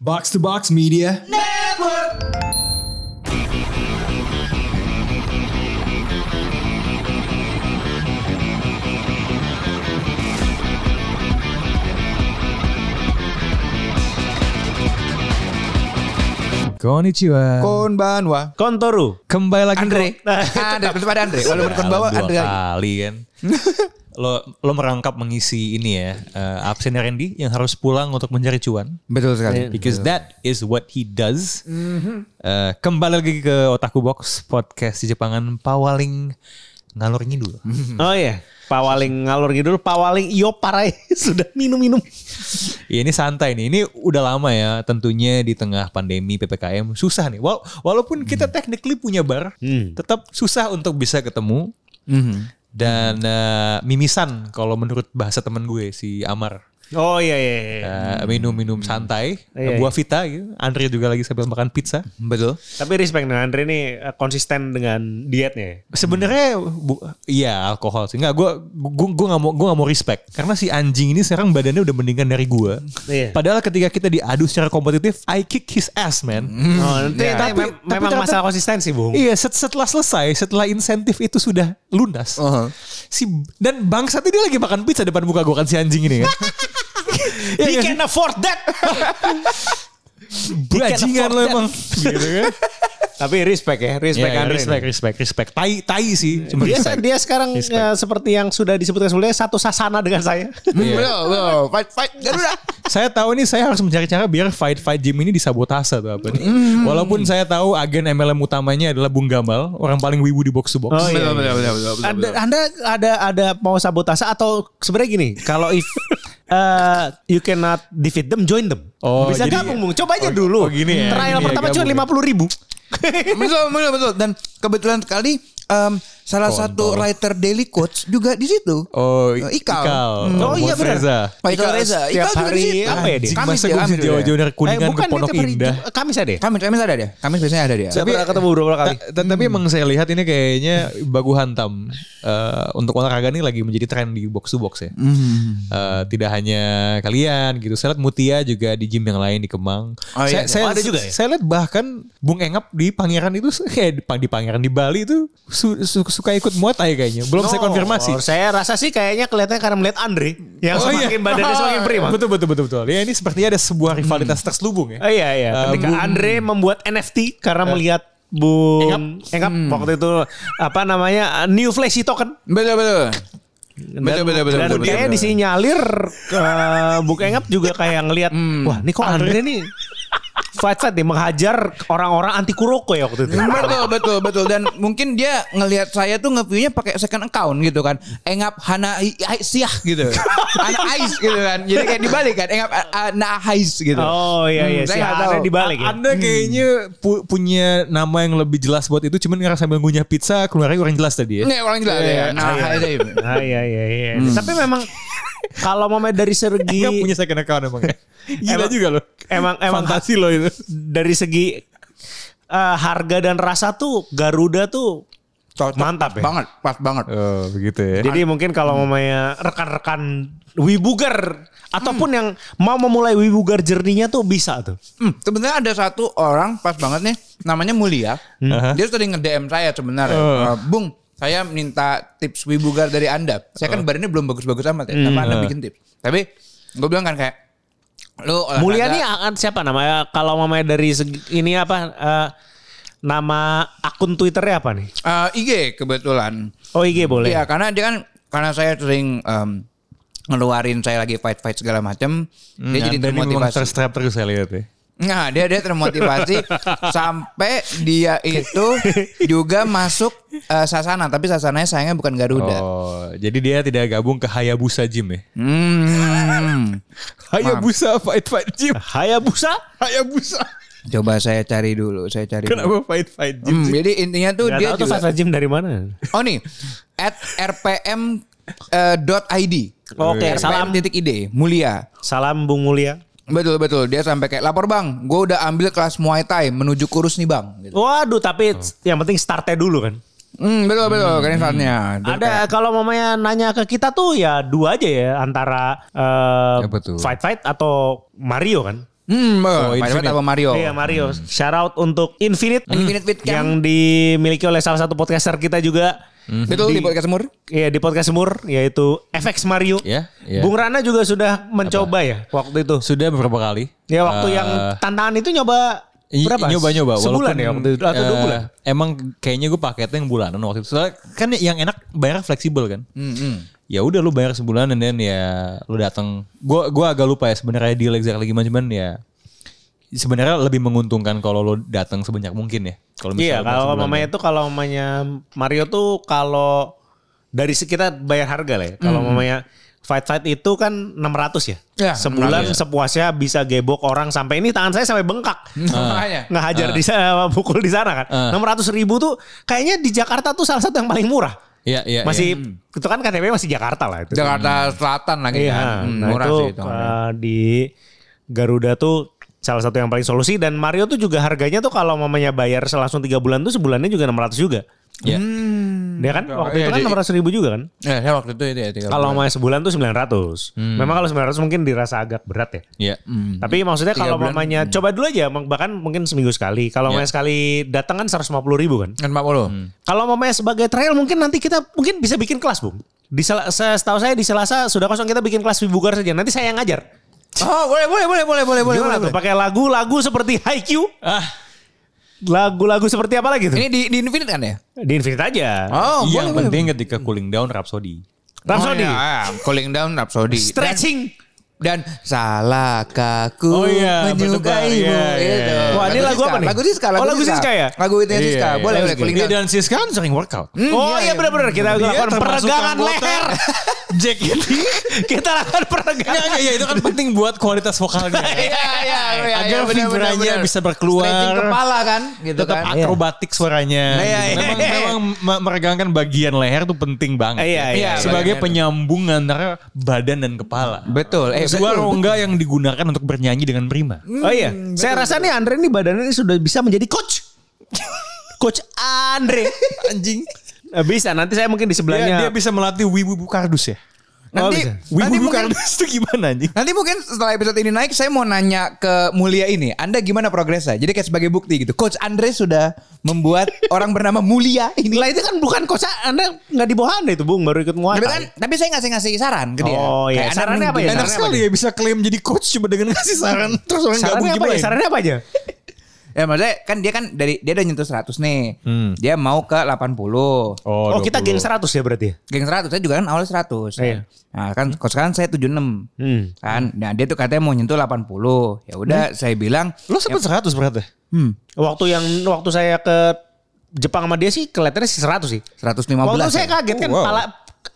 Box to Box Media. Konnichiwa. Konbanwa. Kontoru. Kembali lagi Andre. ke- Nah, Andre, tetap ada Andre. Walaupun kon bawa Dua Andre lagi. kali kan. lo lo merangkap mengisi ini ya eh, absennya Randy yang harus pulang untuk mencari cuan Betul sekali. because that is what he does. Mm-hmm. Eh, kembali lagi ke Otaku Box podcast di Jepangan pawaling ngalor ngidul. Oh iya, pawaling ngalur ngidul, pawaling iyo parai sudah minum-minum. Ya, ini santai nih. Ini udah lama ya tentunya di tengah pandemi PPKM susah nih. Wal- walaupun kita Hmm. technically punya bar, tetap susah untuk bisa ketemu. Mhm. Hmm. Dan eh, mimisan kalau menurut bahasa temen gue si Amar. Oh iya iya. iya. Eh, minum-minum santai, Iya, buah vita gitu. Andre juga lagi sambil makan pizza. Betul. Tapi respect dengan Andre nih eh, konsisten dengan dietnya. Sebenarnya bu- iya alkohol sih. Enggak gua gua gua gak mau gua gak mau respect karena si anjing ini sekarang badannya udah mendingan dari gua. Iya. Padahal ketika kita diadu secara kompetitif, I kick his ass, man. Oh, nanti Iya. tapi, Tapi- tapi memang ternyata- masalah konsistensi, Bung. Iya, set- setelah selesai, setelah insentif itu sudah lunas. Oh. Uh-huh. Si dan bangsat ini lagi makan pizza depan muka gua kan si anjing ini kan. Iya, He iya. can afford that. Bajingan lo emang. gitu kan. tapi respect ya, respect Iya, iya, Andre. respect, respect, respect. Tai tai sih, cuma Dia, respect. dia sekarang eh, seperti yang sudah disebutkan sebelumnya satu sasana dengan saya. Hmm, Betul, betul. Fight, fight. Garuda. saya tahu nih saya harus mencari cara biar fight fight gym ini disabotase atau apa nih. Walaupun saya tahu agen MLM utamanya adalah Bung Gamal, orang paling wibu di box to box. Oh, iya, Betul, iya. betul, betul, betul, betul, Anda, betul. anda ada ada mau sabotase atau sebenarnya gini, kalau if eh, you cannot defeat them, join them. Oh, Bisa jadi- gabung, Bung. Coba aja dulu. oh, gini ya, Trial gini ya, pertama gabung cuma ya. lima puluh ribu. Betul, betul, betul. Dan kebetulan sekali em, salah satu writer Daily Quotes juga di situ. Oh, Eh, Ikal. Ikal. Hmm. Oh, iya, Bos benar. Reza. Pak Ikal Ikal Reza. setiap Ikal juga di hari, situ. apa ya dia? Anjing, Kamis masa dia, gue mesti Kamis dia. jauh-jauh dari kuningan ke dia Pondok tiap hari Indah. Ju- Kamis ada ya? Eh, Kamis, Kamis ada dia. Kamis biasanya ada dia. Saya pernah ketemu beberapa kali. Ta- ta- Tapi emang saya lihat ini kayaknya bagu hantam Eh, untuk olahraga ini lagi menjadi tren di box to box ya. Hmm, Eh, tidak hanya kalian gitu. Saya lihat Mutia juga di gym yang lain di Kemang. Oh, saya, iya. saya, Oh, ada juga ya? Saya lihat bahkan Bung Engap di Pangeran itu kayak di, Pang- di Pangeran di Bali itu su- su- suka ikut muay thai kayaknya. Belum saya No, Oh, konfirmasi. Saya rasa sih kayaknya kelihatannya karena melihat Andre yang Oh, iya. semakin badannya semakin prima. Hmm. Betul betul betul betul. Ya ini sepertinya ada sebuah rivalitas terselubung ya. Oh iya iya. Eh, Ketika Bung- Eh. Andre membuat NFT karena melihat Bung Engap Hmm. waktu itu apa namanya uh, new flashy token. Betul, betul. Dan, Betul, betul, betul, dan betul, betul, kayaknya betul. disinyalir eh, Bung Engap juga kayak ngelihat Hmm. wah ini kok Andre nih fight fight nih menghajar orang-orang anti Kuroko ya waktu itu. betul betul betul dan mungkin dia ngelihat saya tuh nge-view-nya pakai second account gitu kan engap hana I- I- siah gitu hana ais gitu kan jadi kayak dibalik kan engap hana hais gitu Oh iya iya Hmm, sih. saya nggak Ada tahu. dibalik ya. Anda kayaknya pu- punya nama yang lebih jelas buat itu, cuman ngerasa sambil ngunyah pizza keluarnya kurang jelas tadi ya. ini orang jelas ya nah Iya. hais aja. Ah, iya iya iya. Hmm. Tapi memang kalau mau dari segi Enggak punya second account emang. ya? Iya. Gila Emang- juga loh. emang emang Fantasi loh itu. dari segi eh, harga dan rasa tuh Garuda tuh Cocok Mantap ya. banget pas banget Oh, begitu ya. jadi mungkin kalau mamanya rekan-rekan wibuger ataupun yang mau memulai wibuger jerninya tuh bisa tuh. Hmm, sebenarnya ada satu orang pas banget nih namanya Mulia. Hmm. Uh-huh. Dia sering nge-DM saya sebenarnya. Oh. Eh, Bung, saya minta tips wibugar dari Anda. Saya Oh. kan badannya belum bagus-bagus amat ya, Hmm. tapi Uh-huh. Anda bikin tips. Tapi gue bilang kan kayak lu olahraga- Mulia nih ya?" akan siapa namanya? Kalau mamanya dari segi, ini apa eh, nama akun Twitternya apa nih? Eh, IG kebetulan. Oh IG boleh. Iya, karena dia kan karena saya sering em, ngeluarin saya lagi fight-fight segala macam, Hmm, dia nah, jadi Anda ini memang termotivasi. terstrap terus saya lihat ya. Nah, dia dia termotivasi sampai dia itu juga masuk eh, sasana, tapi sasananya sayangnya bukan Garuda. Oh, jadi dia tidak gabung ke Hayabusa Gym ya. Hmm. Hayabusa Fight Fight Gym. Hayabusa. Hayabusa. Coba saya cari dulu, saya cari. dulu. Kenapa Fight Fight Gym? Hmm, jadi intinya tuh Gak dia tahu tuh juga. Sasa Jim dari mana. Oh nih, at rpm eh, dot id. Oke, Iya. Eh, salam. titik ide mulia. Salam Bung Mulia. Betul betul dia sampai kayak lapor bang, gue udah ambil kelas muay thai menuju kurus nih bang. Gitu. Waduh tapi yang penting startnya dulu kan. Hmm, betul betul kan infonya. Dan kayak- Ada kalau mamanya nanya ke kita tuh ya dua aja ya antara eh, Apa tuh? fight fight atau Mario kan. Hmm, Oh, Mario Infinite. apa Mario? Iya Mario. Shout out untuk Infinite, Hmm. Infinite with Cam. yang dimiliki oleh salah satu podcaster kita juga. Hmm. Betul di podcast Mur. Iya di podcast Mur yaitu FX Mario. Iya, iya. Bung Rana juga sudah mencoba ya waktu itu. Sudah beberapa kali. Ya waktu Eh, yang tantangan itu nyoba i- berapa? Nyoba-nyoba. Sebulan walaupun, ya waktu itu atau dua eh, bulan. Emang kayaknya gue paketnya yang bulanan waktu itu. Soalnya kan yang enak bayar fleksibel kan. Hmm, Ya udah lu bayar sebulan dan then ya lu datang. Gua gua agak lupa ya sebenarnya deal exactly gimana cuman ya sebenarnya lebih menguntungkan kalau lu datang sebanyak mungkin ya. Kalau Iya misalnya lu kalau sebulan ya. mamanya itu kalau mamanya Mario tuh kalau dari se- kita bayar harga lah ya. Kalau Hmm. mamanya Fight Fight itu kan 600 ya. Ya, Sebulan iya. sepuasnya bisa gebok orang sampai ini tangan saya sampai bengkak. Hmm. Makanya. nggak hajar di sana, pukul di sana kan. Ah. 600 ribu tuh kayaknya di Jakarta tuh salah satu yang paling murah. Iya, iya. masih itu kan KTP masih Jakarta lah itu. Ya, Jakarta Selatan lagi Iya, kan. Hmm, nah murah itu, sih itu. uh, di Garuda tuh salah satu yang paling solusi dan Mario tuh juga harganya tuh kalau mamanya bayar langsung 3 bulan tuh sebulannya juga 600 juga. Iya. Dia kan waktu Iya, itu kan jadi- 600 ribu juga kan. Ya, saya waktu itu itu ya. tiga bulan. Kalau mamanya sebulan tuh 900. Memang kalau 900 mungkin dirasa agak berat ya. Iya. Hmm. Tapi maksudnya Tiga kalau bulan, hmm. Iya. mamanya coba dulu aja bahkan mungkin seminggu sekali. Kalau mamanya sekali datang kan 150 ribu kan. Kan 40. Kalau mamanya sebagai trial mungkin nanti kita mungkin bisa bikin kelas, Bung. Di Sel- se- setahu saya di Selasa sudah kosong kita bikin kelas wibugar saja. Nanti saya yang ngajar. Oh, boleh boleh boleh boleh boleh boleh. Gimana boleh. tuh? Pakai lagu-lagu seperti Haikyuu. Ah, Lagu-lagu seperti apa lagi tuh? Ini di, di Infinite kan ya? Di Infinite aja. Oh, Iya, yang boleh, penting ketika cooling down Rhapsody. Oh, Rhapsody. iya, iya. Cooling down Rhapsody. Stretching. Dan, dan salahkah ku Oh, iya, berdebar. menyukaimu Iya, iya, Gitu. iya. Wah, ini lagu Siska, apa nih? Lagu Siska. Oh, lagu Siska ya? Lagu itu Siska. Boleh, boleh. Cooling Dia down. iya. dan Siska kan sering workout. Hmm, oh iya benar-benar kita lakukan termasuk peregangan anggota leher. JKT. kita lakukan Enggak, peregangan. enggak, ya itu kan penting buat kualitas vokalnya. Iya, iya, iya. Agar iya, benar, vibranya benar, benar. bisa berkeluar. Stretching kepala kan. Gitu Tetap kan. akrobatik suaranya. Iya, gitu. iya. Memang, memang me- meregangkan bagian leher tuh penting banget. Iya, ya. iya, Sebagai iya. penyambung antara badan dan kepala. Betul. Eh, Sebuah betul. rongga yang digunakan untuk bernyanyi dengan prima. Oh iya, Hmm, saya rasa nih Andre nih badannya ini sudah bisa menjadi coach. coach Andre. Iya. Anjing. Eh, Bisa, nanti saya mungkin di Dia, dia sebelahnya. bisa melatih wibu kardus ya. Nanti, bisa. nanti Wibu mungkin kardus itu gimana anjing? Nanti mungkin setelah episode ini naik, saya mau nanya ke Mulia ini, Anda gimana progresnya? Jadi kayak sebagai bukti gitu, Coach Andre sudah membuat orang bernama Mulia ini. Lah itu kan bukan coach Anda nggak di bawah Anda itu Bung baru ikut muat. Tapi kan, tapi saya ngasih ngasih saran ke dia. Oh, Kayak iya. Anda Sarannya apa ya? menunjukkan- Enak sarannya sekali apa ya bisa klaim jadi coach cuma dengan ngasih saran. Terus orang gak Sarannya apa ya? gimana? Sarannya apa aja? Ya maksudnya kan dia kan dari dia udah nyentuh 100 nih. Hmm. Dia mau ke 80. Oh, kita geng geng 100 ya berarti ya? Geng 100 saya juga kan awal 100. Iya. Nah, kan coach sekarang saya 76. Hmm. Kan, nah dia tuh katanya mau nyentuh 80. Ya udah saya bilang, Lo sempet 100 berarti? hmm, Waktu yang waktu saya ke Jepang sama dia sih kelihatannya sih 100 sih. 115. Waktu ya. saya kaget kan Oh, wow. pala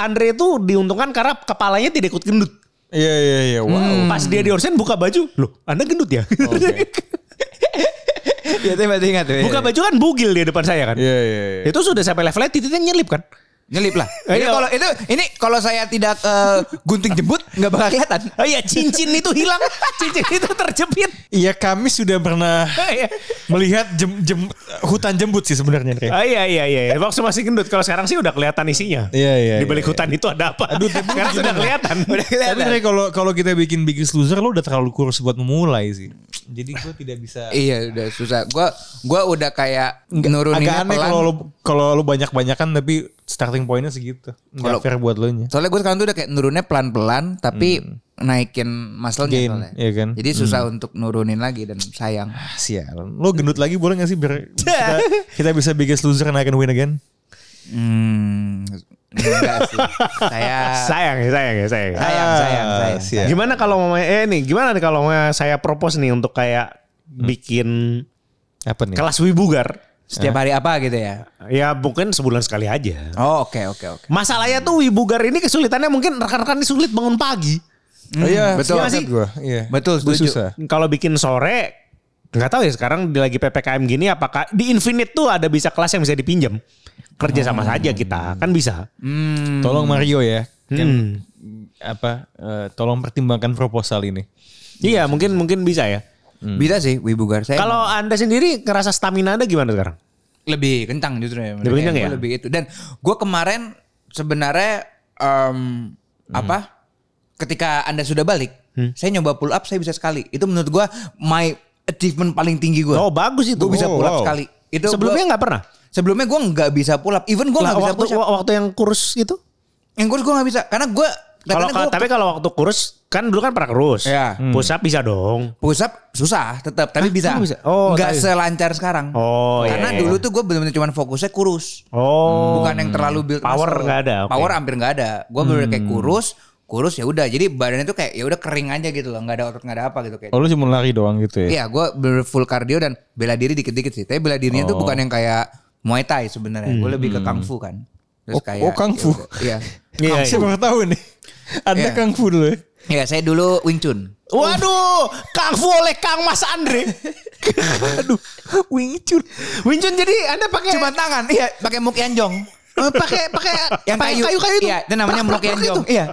Andre itu diuntungkan karena kepalanya tidak ikut gendut. Iya, iya, iya. Wow. Pas dia diorsen buka baju, loh Anda gendut ya? Oh, Iya, saya masih ingat. buka baju kan bugil dia depan saya kan. Iya, iya, iya. Itu sudah sampai levelnya titiknya nyelip kan. Nyelip lah. Ini Eh, iya. kalau itu ini kalau saya tidak eh, gunting jembut nggak bakal kelihatan. Oh iya cincin itu hilang, cincin itu terjepit. Iya, kami sudah pernah Oh iya. melihat jem- jem- hutan jembut sih sebenarnya. Andre. Oh iya iya iya, waktu masih gendut. Kalau sekarang sih udah kelihatan isinya. Iya, iya, Di balik iya, hutan itu ada apa? Aduh, sekarang sudah kelihatan. Tapi Andre, kalau kalau kita bikin biggest loser lo udah terlalu kurus buat memulai sih. Jadi gue tidak bisa. Iya udah susah. Gua gua udah kayak nuruninnya Agak aneh pelan. kalau lo kalau lo banyak banyakan tapi starting pointnya segitu. Kalau- Nggak fair buat lo nya. Soalnya gue sekarang tuh udah kayak nurunnya pelan-pelan tapi naikin muscle-nya Hmm. Gain, soalnya. iya kan? Jadi susah untuk nurunin lagi dan sayang. Ah, Sialan. Lo gendut lagi boleh gak sih biar kita, kita bisa biggest loser and I can win again? Hmm, enggak sih. Saya sayang ya, sayang ya, sayang. Ah, ya. sayang sayang sayang. siap. Gimana kalau mamanya eh nih, gimana nih kalau mamanya saya propose nih untuk kayak bikin Apa Hmm. nih? kelas wibugar? Setiap hari apa gitu ya? Ya mungkin sebulan sekali aja. Oh oke oke oke. Masalahnya tuh wibugar ini kesulitannya mungkin rekan-rekan ini sulit bangun pagi. Hmm, betul. iya sih. Gue, iya. Betul, Oh, Gua setuju. Susah. Kalau bikin sore nggak tahu ya sekarang di lagi PPKM gini apakah di Infinite tuh ada bisa kelas yang bisa dipinjam. Kerja sama Hmm. saja kita, kan bisa. Hmm. Tolong Mario ya. Hmm. Kan, apa? eh, tolong pertimbangkan proposal ini. Iya, mungkin mungkin bisa ya. Bisa Hmm. sih Wibugar saya. Kalau Anda sendiri ngerasa stamina Anda gimana sekarang? lebih kencang justru ya. Lebih kencang Gua ya? Lebih itu. Dan gue Hmm. kemarin sebenarnya em, apa? Ketika anda sudah balik, Hmm. Saya nyoba pull up saya bisa sekali. Itu menurut gua my achievement paling tinggi gua. Oh, bagus itu. Gua bisa Oh, pull up wow. sekali. Itu Sebelumnya gua- nggak pernah. Sebelumnya gua nggak bisa pull up. Even gua Lah, nggak bisa waktu push up. waktu yang kurus itu. Yang kurus gua nggak bisa karena gua Kalau katanya kan gua tapi kalau waktu kurus kan dulu kan pernah kurus. Iya. Push up bisa dong. push up susah tetap tapi bisa. bisa? Oh, nggak tapi- selancar sekarang. Oh, iya, Karena iya. dulu tuh gua benar-benar cuma fokusnya kurus. Oh. bukan yang terlalu build Power muscle. nggak ada, oke. Hmm. power hampir nggak ada gue bener kayak kurus kurus ya udah jadi badannya tuh kayak ya udah kering aja gitu loh nggak ada otot nggak ada apa gitu kayak Oh lu cuma lari doang gitu ya? iya gue bener full cardio dan bela diri dikit-dikit sih tapi bela dirinya tuh Oh. bukan yang kayak muay thai sebenarnya gue lebih ke Hmm. kungfu kan terus Oh, oh, kungfu. ya udah, iya Iya, Iya, iya. Siapa tahu nih. Anda Iya. Kang Fu dulu ya. Iya saya dulu Wing Chun Waduh, Kang Fu oleh Kang Mas Andre. Aduh, Wing Chun. Wing Chun jadi Anda pakai cuma tangan iya pakai muk yanjong Eh, pakai pakai yang pakai kayu, kayu-kayu itu. iya itu namanya muk Prak-prak-prak yanjong itu. iya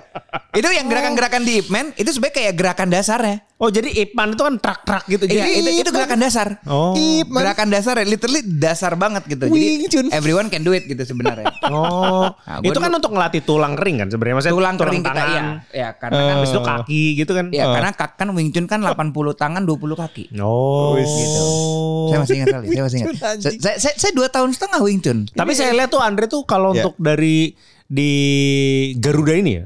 itu yang gerakan-gerakan di Ip Man itu sebenarnya kayak gerakan dasarnya Oh, jadi Ipan itu kan trak-trak gitu. Iya, jadi itu, itu gerakan dasar. Oh. Ip, man. Gerakan dasar ya, literally dasar banget gitu. Wing Jadi Chun. everyone can do it gitu sebenarnya. Oh, Nah, gua itu kan dulu- untuk ngelatih tulang kering kan sebenarnya maksudnya Tulang kering kita tangan. iya. Ya, karena kan Habis itu kaki gitu kan. ya, karena kak, kan Wing Chun kan 80 tangan 20 kaki. Oh. Gitu. Saya masih ingat kali, saya masih ingat. Saya, saya, saya, saya dua tahun setengah Wing Chun. Tapi saya iya. lihat tuh Andre tuh kalau Iya. untuk dari di Garuda ini ya.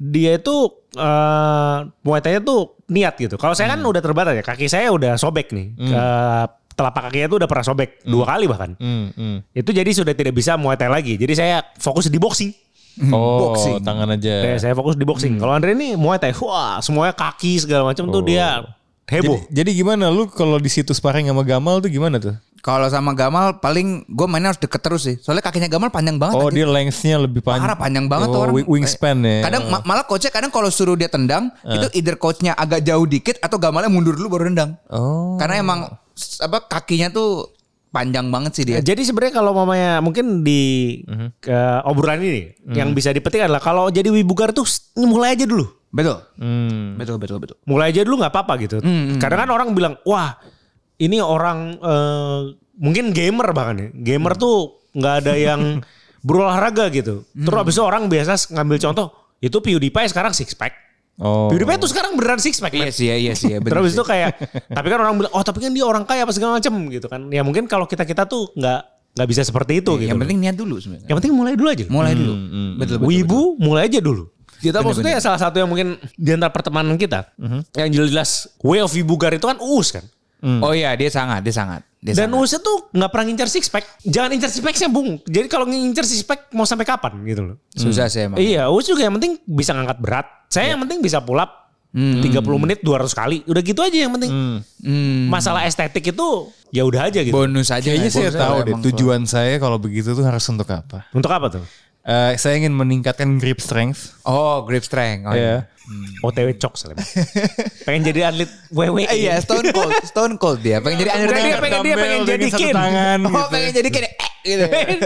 Dia itu eh Muay Thai-nya tuh niat gitu. Kalau saya kan udah terbatas ya, kaki saya udah sobek nih. Eh, telapak kakinya tuh udah pernah sobek dua kali bahkan. Hmm, hmm. Itu jadi sudah tidak bisa Muay Thai lagi. Jadi saya fokus di boxing. Oh, boxing. tangan aja. Saya, saya fokus di boxing. Kalau Andre ini Muay Thai, wah semuanya kaki segala macam tuh Oh. dia Jadi, heboh. jadi gimana lu kalau di situ sparring sama Gamal tuh gimana tuh? Kalau sama Gamal paling gue mainnya harus deket terus sih. Soalnya kakinya Gamal panjang banget. Oh, kaki. dia length-nya lebih panjang. Parah panjang banget oh, tuh orang. Eh, wing- Wingspan ya. Eh. Kadang ma- malah coachnya kadang kalau suruh dia tendang itu either coachnya agak jauh dikit atau gamalnya mundur dulu baru nendang. Oh. Karena emang s- apa kakinya tuh panjang banget sih dia. Eh, Ya, jadi sebenarnya kalau mamanya mungkin di ke obrolan ini yang bisa dipetik adalah kalau jadi wibugar tuh s- mulai aja dulu. Betul. Hmm. Betul betul betul. Mulai aja dulu nggak apa-apa gitu. Kadang kan orang bilang, "Wah, ini orang eh, mungkin gamer bahkan ya. Gamer tuh nggak ada yang berolahraga gitu." Terus abis itu orang biasa s- ngambil contoh, itu PewDiePie sekarang six pack. Oh. PewDiePie tuh sekarang beneran six pack. Iya man. sih ya, iya sih ya. Terus bener abis sih. itu kayak, tapi kan orang bilang, oh tapi kan dia orang kaya apa segala macem gitu kan. Ya mungkin kalau kita kita tuh nggak nggak bisa seperti itu gitu. Iya, yang penting niat dulu sebenarnya. Yang penting mulai dulu aja. Mulai Hmm, dulu. Betul betul. Wibu mulai aja dulu. Gitu, Kita maksudnya salah satu yang mungkin di antara pertemanan kita yang jelas-jelas way of wibugar itu kan uus kan. Hmm. Oh iya, dia sangat, dia sangat. Dia Dan sangat. uusnya tuh nggak pernah ngincar six pack. Jangan incar six packnya bung. Jadi kalau ngincar six pack mau sampai kapan gitu loh. susah sih emang. Iya uus juga yang penting bisa ngangkat berat. Saya yang penting bisa pull up 30 menit 200 kali. Udah gitu aja yang penting. Hmm, Masalah estetik itu ya udah aja gitu. bonus aja. lah, Kayaknya bonus saya Iya Nah, tahu aja deh emang. tujuan saya kalau begitu tuh harus untuk apa? Untuk apa tuh? Eh, saya ingin meningkatkan grip strength. Oh, grip strength. Oh, iya. Ya. OTW cok seleb. Pengen jadi atlet E. WWE. Eh, Iya, stone cold, stone cold dia. Pengen jadi Iya. Enggak, dia Undertaker. pengen dia Dumbbell pengen dengan jadi satu kin. tangan Oh, gitu. Iya. pengen jadi kayak eh, gitu. Ya,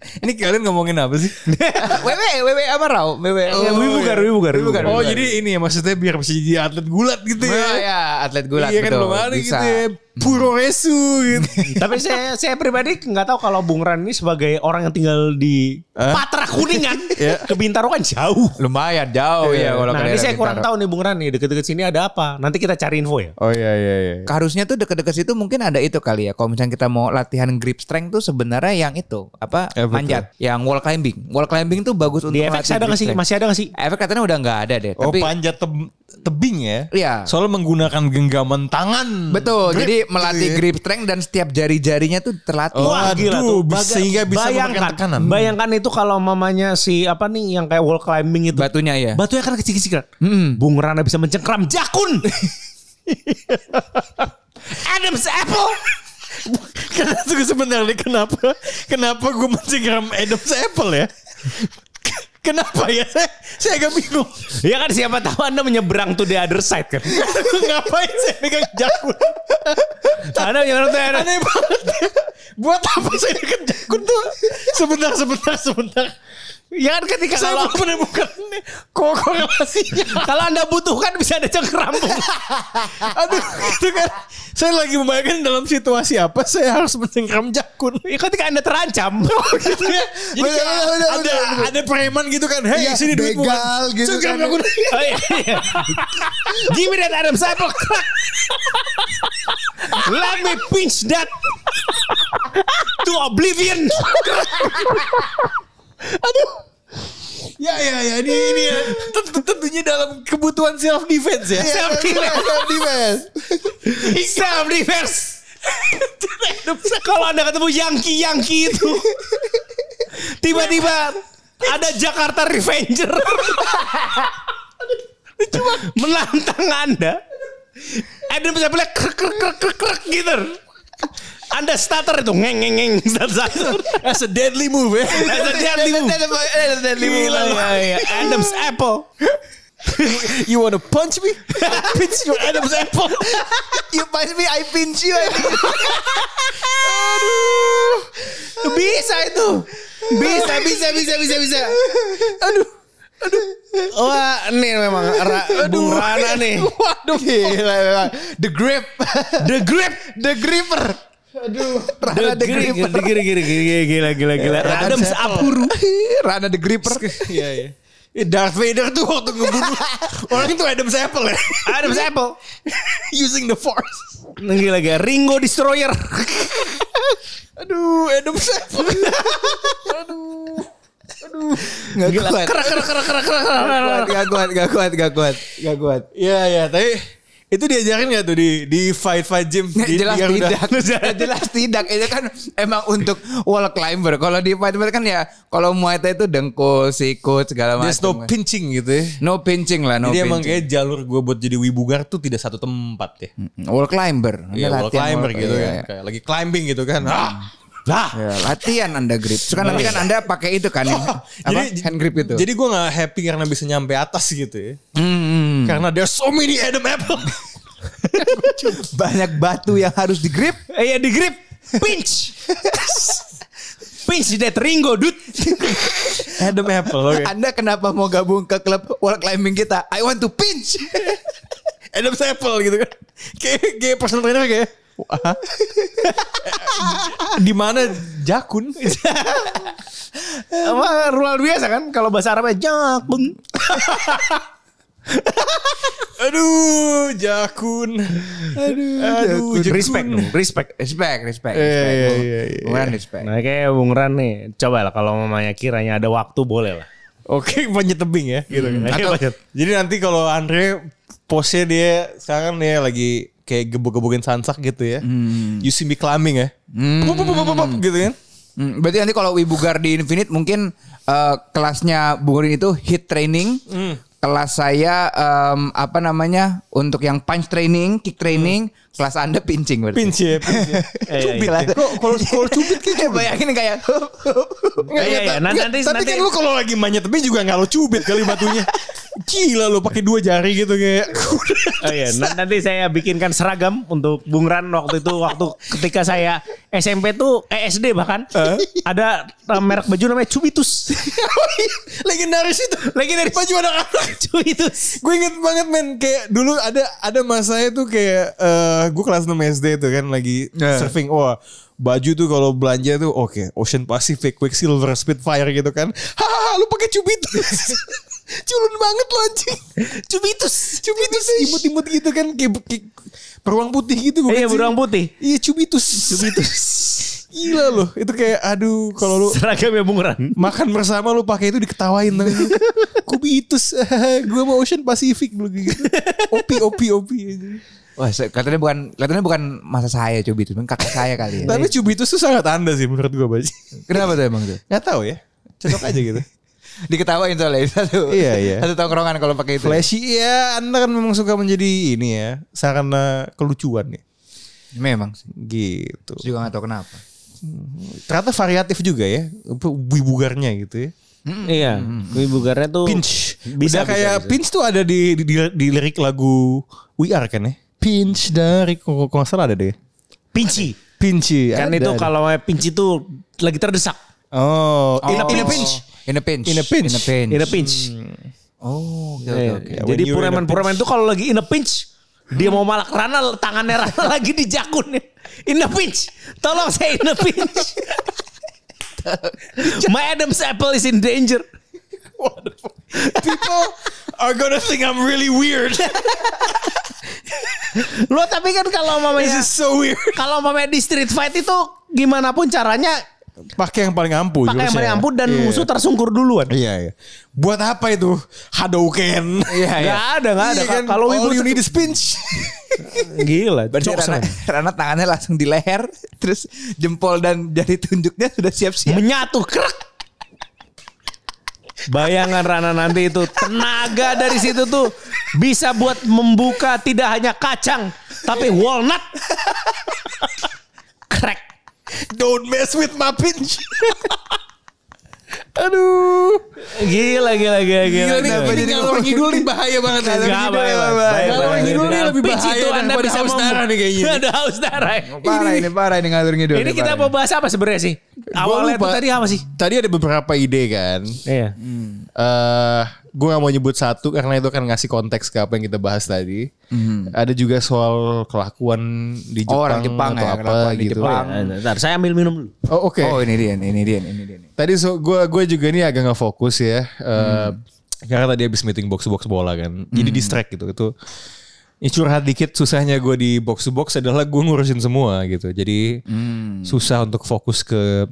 Ini kalian ngomongin apa sih? Wewe, wewe apa Rau? Wewe. Oh, iya. wibugar, wibugar, iya. wibugar. oh jadi ini ya maksudnya biar bisa jadi atlet gulat gitu ya. Wah, ya, atlet gulat iya kan betul. belum ada Bisa. gitu ya. Puro resu gitu. Tapi saya saya pribadi nggak tahu kalau Bung Ran ini sebagai orang yang tinggal di Patra Kuningan ke Bintaro kan jauh. Lumayan jauh Iya. ya Iya. kalau nah ke ini daerah saya kurang Bintaro. tahu nih Bung Ran nih deket-deket sini ada apa. Nanti kita cari info ya. Oh iya iya iya. Harusnya tuh deket-deket situ mungkin ada itu kali ya. Kalau misalnya kita mau latihan grip strength tuh sebenarnya yang itu apa Eh, betul. manjat, yang wall climbing. Wall climbing tuh bagus untuk Di efek ngelatih ada nggak grip sih? strength. Masih ada nggak sih? Efek katanya udah nggak ada deh. Oh tapi panjat teb- tebing ya. Iya. Soalnya menggunakan genggaman tangan. betul. Grip jadi gitu melatih ya. grip strength dan setiap jari-jarinya tuh terlatih. Oh, Wah, gila tuh. Baga- Sehingga bisa bayangkan, menekan tekanan. Hmm. Bayangkan itu kalau mamanya si apa nih yang kayak wall climbing itu. Batunya ya. Batunya kan kecil-kecil kan. Hmm. Bung Rana bisa mencengkram jakun. Adam's apple. Karena tunggu sebentar nih kenapa kenapa gue mencengkram Adam's apple ya? kenapa ya? Saya, saya agak bingung. Ya kan siapa tahu Anda menyeberang to the other side kan. Ngapain saya pegang jakun? Anda menyeberang to the other Aneh banget. Buat apa saya dekat jakun tuh? Sebentar, sebentar, sebentar. Ya kan ketika Saya kalau belum menemukan nih ko- korelasinya. kalau anda butuhkan bisa ada cengkerampung. Aduh, itu kan. Saya lagi membayangkan dalam situasi apa saya harus mencengkram jakun. Ya, ketika anda terancam. gitu ya. Jadi Bener, kayak bener, bener, ada bener. ada preman gitu kan. Hei, Iya, sini duit begal gitu Cengkram kan. aku. Oh, iya, iya. Give me that Adam Sandler. Let me pinch that to oblivion. Ya ya ya ini ini ya. Tentu- tentunya dalam kebutuhan self defense ya. Self defense. Self defense. Self defense. Kalau anda ketemu Yankee Yankee itu, tiba-tiba ada Jakarta Revenger menantang anda. Adam bisa bilang krek krek krek krek krek gitu. Anda starter itu ngeng ngeng ngeng starter. That's a deadly move ya. eh. That's a deadly move. That's a deadly move. Gila, Iya, iya. Adam's apple. You wanna punch me? Pinch your Adam's apple. You punch me, I pinch you. Bisa itu. Bisa, bisa, bisa, bisa, bisa. Wah, ini memang Ra, Bung Rana nih. Waduh. Gila, memang. The grip. The grip. The gripper. Aduh. Rana the, grip. gripper. The grip, gila, gila, gila, gila, gila. Adam's apple. Rana the gripper. Iya iya. Eh, Darth Vader tuh waktu ngebunuh orang itu Adam's apple ya. Adam's apple. Using the force. Gila, gila. Ringo Destroyer. Aduh, Adam's apple. Gak kuat. Kerak, kerak, kerak, kerak, kerak, Gak kerak, kerak. kuat, Gak kuat, gak kuat, gak kuat, gak kuat. Iya iya, tapi itu diajarin gak tuh di di fight fight gym Nah, Di- jelas yang udah- tidak. jelas tidak. Itu kan emang untuk wall climber. Kalau di fight fighter kan ya kalau Muay Thai itu dengkul, sikut segala macam. There's no pinching gitu ya. No pinching lah, no Jadi emang kayak pinching. jalur gue buat jadi wibugar tuh tidak satu tempat ya. Wall climber. Anda Iya, wall latihan climber wall- gitu iya, kan. iya. Kayak lagi climbing gitu kan. Ah, Lah, Ya, latihan Anda grip. Terus kan nanti kan Anda pakai itu kan. apa? hand grip gitu. itu. ah. Jadi gue gak happy karena bisa nyampe atas gitu ya. Hmm, Karena there's so many Adam Apple. banyak batu yang harus digrip. eh, ya the grip. Pinch. Pinch that Ringo, dude. Adam Apple. oke. Anda kenapa mau gabung ke klub wall climbing kita? I want to pinch. Adam Apple gitu kan. Kayak Eh, kayak personal trainer kayak "Wah." di mana jakun? Apa rural biasa kan? Kalau bahasa Arabnya jak, bung. Aduh, jakun. Aduh, aduh, jakun. respect dong, respect. Respect, respect, respect. iya, iya, iya. Bukan respect. Nah, kayak Bung Ran nih, coba lah kalau mamanya kiranya ada waktu boleh lah. Oke, panjat tebing ya gitu kan. Hmm. Atau, Jadi nanti kalau Andre pose dia sekarang dia lagi kayak gebuk-gebukin sansak gitu ya. Hmm. You see me climbing ya. Pup, pup, pup, pup, pup, gitu kan. Hmm, berarti nanti kalau Wibugar di Infinite mungkin eh, kelasnya Bung Rin itu hit training. Kelas saya em, apa namanya? Untuk yang punch training, kick training, kelas Anda pinching berarti. Pinch ya, pinch ya. Cubit. Kok kalau kalau cubit kayak bayangin kayak Iya, iya, iya. Nanti- Nggak, nanti- tapi nanti- kan lu kalau lagi manjat tebing juga nggak lo cubit kali batunya. Gila lo pakai dua jari gitu kayak. Oh iya, na- nanti saya bikinkan seragam untuk Bung Ran waktu itu waktu ketika saya SMP tuh eh, SD bahkan ada eh, merek baju namanya Cubitus. Oh iya, Legendaris itu. Legendaris baju anak-anak. Cubitus. gue inget banget men kayak dulu ada ada masanya tuh kayak eh gue kelas 6 SD tuh kan lagi Iya. surfing wah baju tuh kalau belanja tuh oke Ocean Pacific Quicksilver Spitfire gitu kan hahaha lu pakai cubitus culun banget lo anjing cubitus cubitus imut-imut gitu kan kayak, kayak beruang putih gitu gue Iya, kasih. beruang putih. iya cubitus cubitus gila loh itu kayak aduh kalau lu Seragamnya ya, Bung Ran. makan bersama lu pakai itu diketawain tuh. Kubitus, gue mau Ocean Pacific lu gitu. Opi opi opi. Wah, se- katanya bukan katanya bukan masa saya coba itu, kakak saya kali ya. Tapi cubitus tuh sangat anda sih menurut gue Baj. Kenapa tuh emang tuh? Gak tau ya. Cocok aja gitu. Diketawain soalnya satu. Iya, iya. Satu tongkrongan kalau pakai itu. Flashy ya, anda kan memang suka menjadi ini ya, sarana kelucuan nih. Memang sih. Gitu. Terus juga gak tahu kenapa. Ternyata variatif juga ya, wibugarnya gitu ya. Iya, Wibugarnya tuh Pinch. Bisa Udah kayak pinch tuh ada di, di, di- di lirik lagu We Are kan ya. Pinch dari kalau kalau nggak salah ada deh. pinci. Pinci. Kan iya, ada, itu ada. kalau pinci tuh lagi terdesak. Oh, in, Oh. in a pinch. In In a pinch. In a pinch. In a pinch. In a pinch. Oh, oke oke Eh, oke. Yeah, Jadi when you're in a puramen-puramen pinch. itu kalau lagi in a pinch, dia mau malak Rana, tangannya Rana lagi di jakunnya. In a pinch. Tolong saya in a pinch. My Adam's apple is in danger. People are gonna think I'm really weird. Lo tapi kan kalau This mamanya is so weird. kalau mamanya di street fight itu gimana pun caranya Pakai yang paling ampuh. pakai yang jurusnya. paling ampuh dan Iya. musuh tersungkur duluan. Iya, iya. Buat apa itu? Hadouken. Iya, iya. Gak ada, gak ada. Iya kan? Kalau all Wibu you tuh- need is pinch. Gila, Berarti jokes Rana, man. Rana tangannya langsung di leher, terus jempol dan jari tunjuknya sudah siap-siap. menyatu kerak. Bayangan Rana nanti itu tenaga dari situ tuh bisa buat membuka tidak hanya kacang tapi walnut. Crack. Don't mess with my pinch. Gila gila gila gila. nih, Gila. apa Nah, jadi ngalor ngidul nih bahaya banget. Nggak, Ngalor ngidul bahaya, ya, bahaya, bahaya. bahaya, Ngalor bahaya. ngidul nih lebih Pitch bahaya itu Anda daripada bisa haus mem- darah nih kayaknya. Ada haus darah. ya. Parah ini, parah ini ngalor ngidul. Ini kita parah mau bahas apa sebenarnya sih? Awalnya Gua tuh lupa. tadi apa sih? Tadi ada beberapa ide kan. Iya. Eh, gue gak mau nyebut satu karena itu akan ngasih konteks ke apa yang kita bahas tadi. Ada juga soal kelakuan di Jepang, Oh, orang Jepang atau ya, apa kelakuan di gitu. Jepang. Iya, Ntar saya ambil minum dulu. Oh oke. Oh ini dia, ini dia, ini dia. nih. Tadi so, gue gua juga nih agak nggak fokus ya. Eh, Hmm. Karena tadi habis meeting box box bola kan. Jadi distract gitu. Itu ya curhat dikit susahnya gue di box to box adalah gue ngurusin semua gitu. Jadi Hmm. susah untuk fokus ke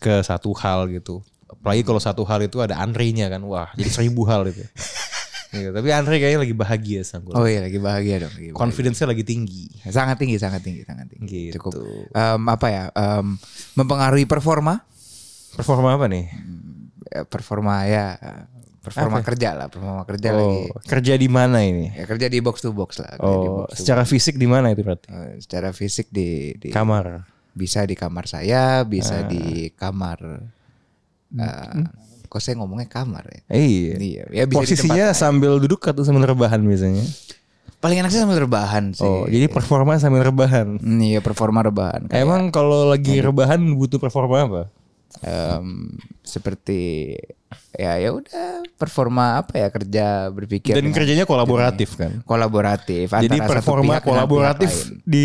ke satu hal gitu. Apalagi kalau satu hal itu ada antrinya kan. Wah, jadi seribu hal itu. Gitu. Tapi Andre kayaknya lagi bahagia sama gue. Oh iya lagi bahagia dong. lagi bahagia. Confidence-nya lagi tinggi. Sangat tinggi, sangat tinggi, sangat tinggi. Gitu. Cukup. Em, apa ya? em, mempengaruhi performa? Performa apa nih? Eh, Performa ya. eh, Performa kerja lah, performa kerja lagi. Oh, kerja di mana ini? Ya, kerja di box to box lah. kerja di Oh, box to secara fisik di mana itu berarti? Eh, secara fisik di, di Kamar. Ah. bisa di kamar saya, bisa di kamar. Hmm. eh, kok saya ngomongnya kamar ya? Iya. Iya, ya bisa di Posisinya sambil duduk atau sambil rebahan biasanya. Paling enak sih sambil rebahan sih. Oh, jadi performa sambil rebahan. Hmm, Iya, performa rebahan. Iya. Kayak, Iya. Emang kalau lagi rebahan butuh performa apa? em, seperti ya ya udah performa apa ya kerja berpikir Dan dengan kerjanya kolaboratif kan. kolaboratif Jadi antara ya. satu performa pihak dengan pihak lain. kolaboratif di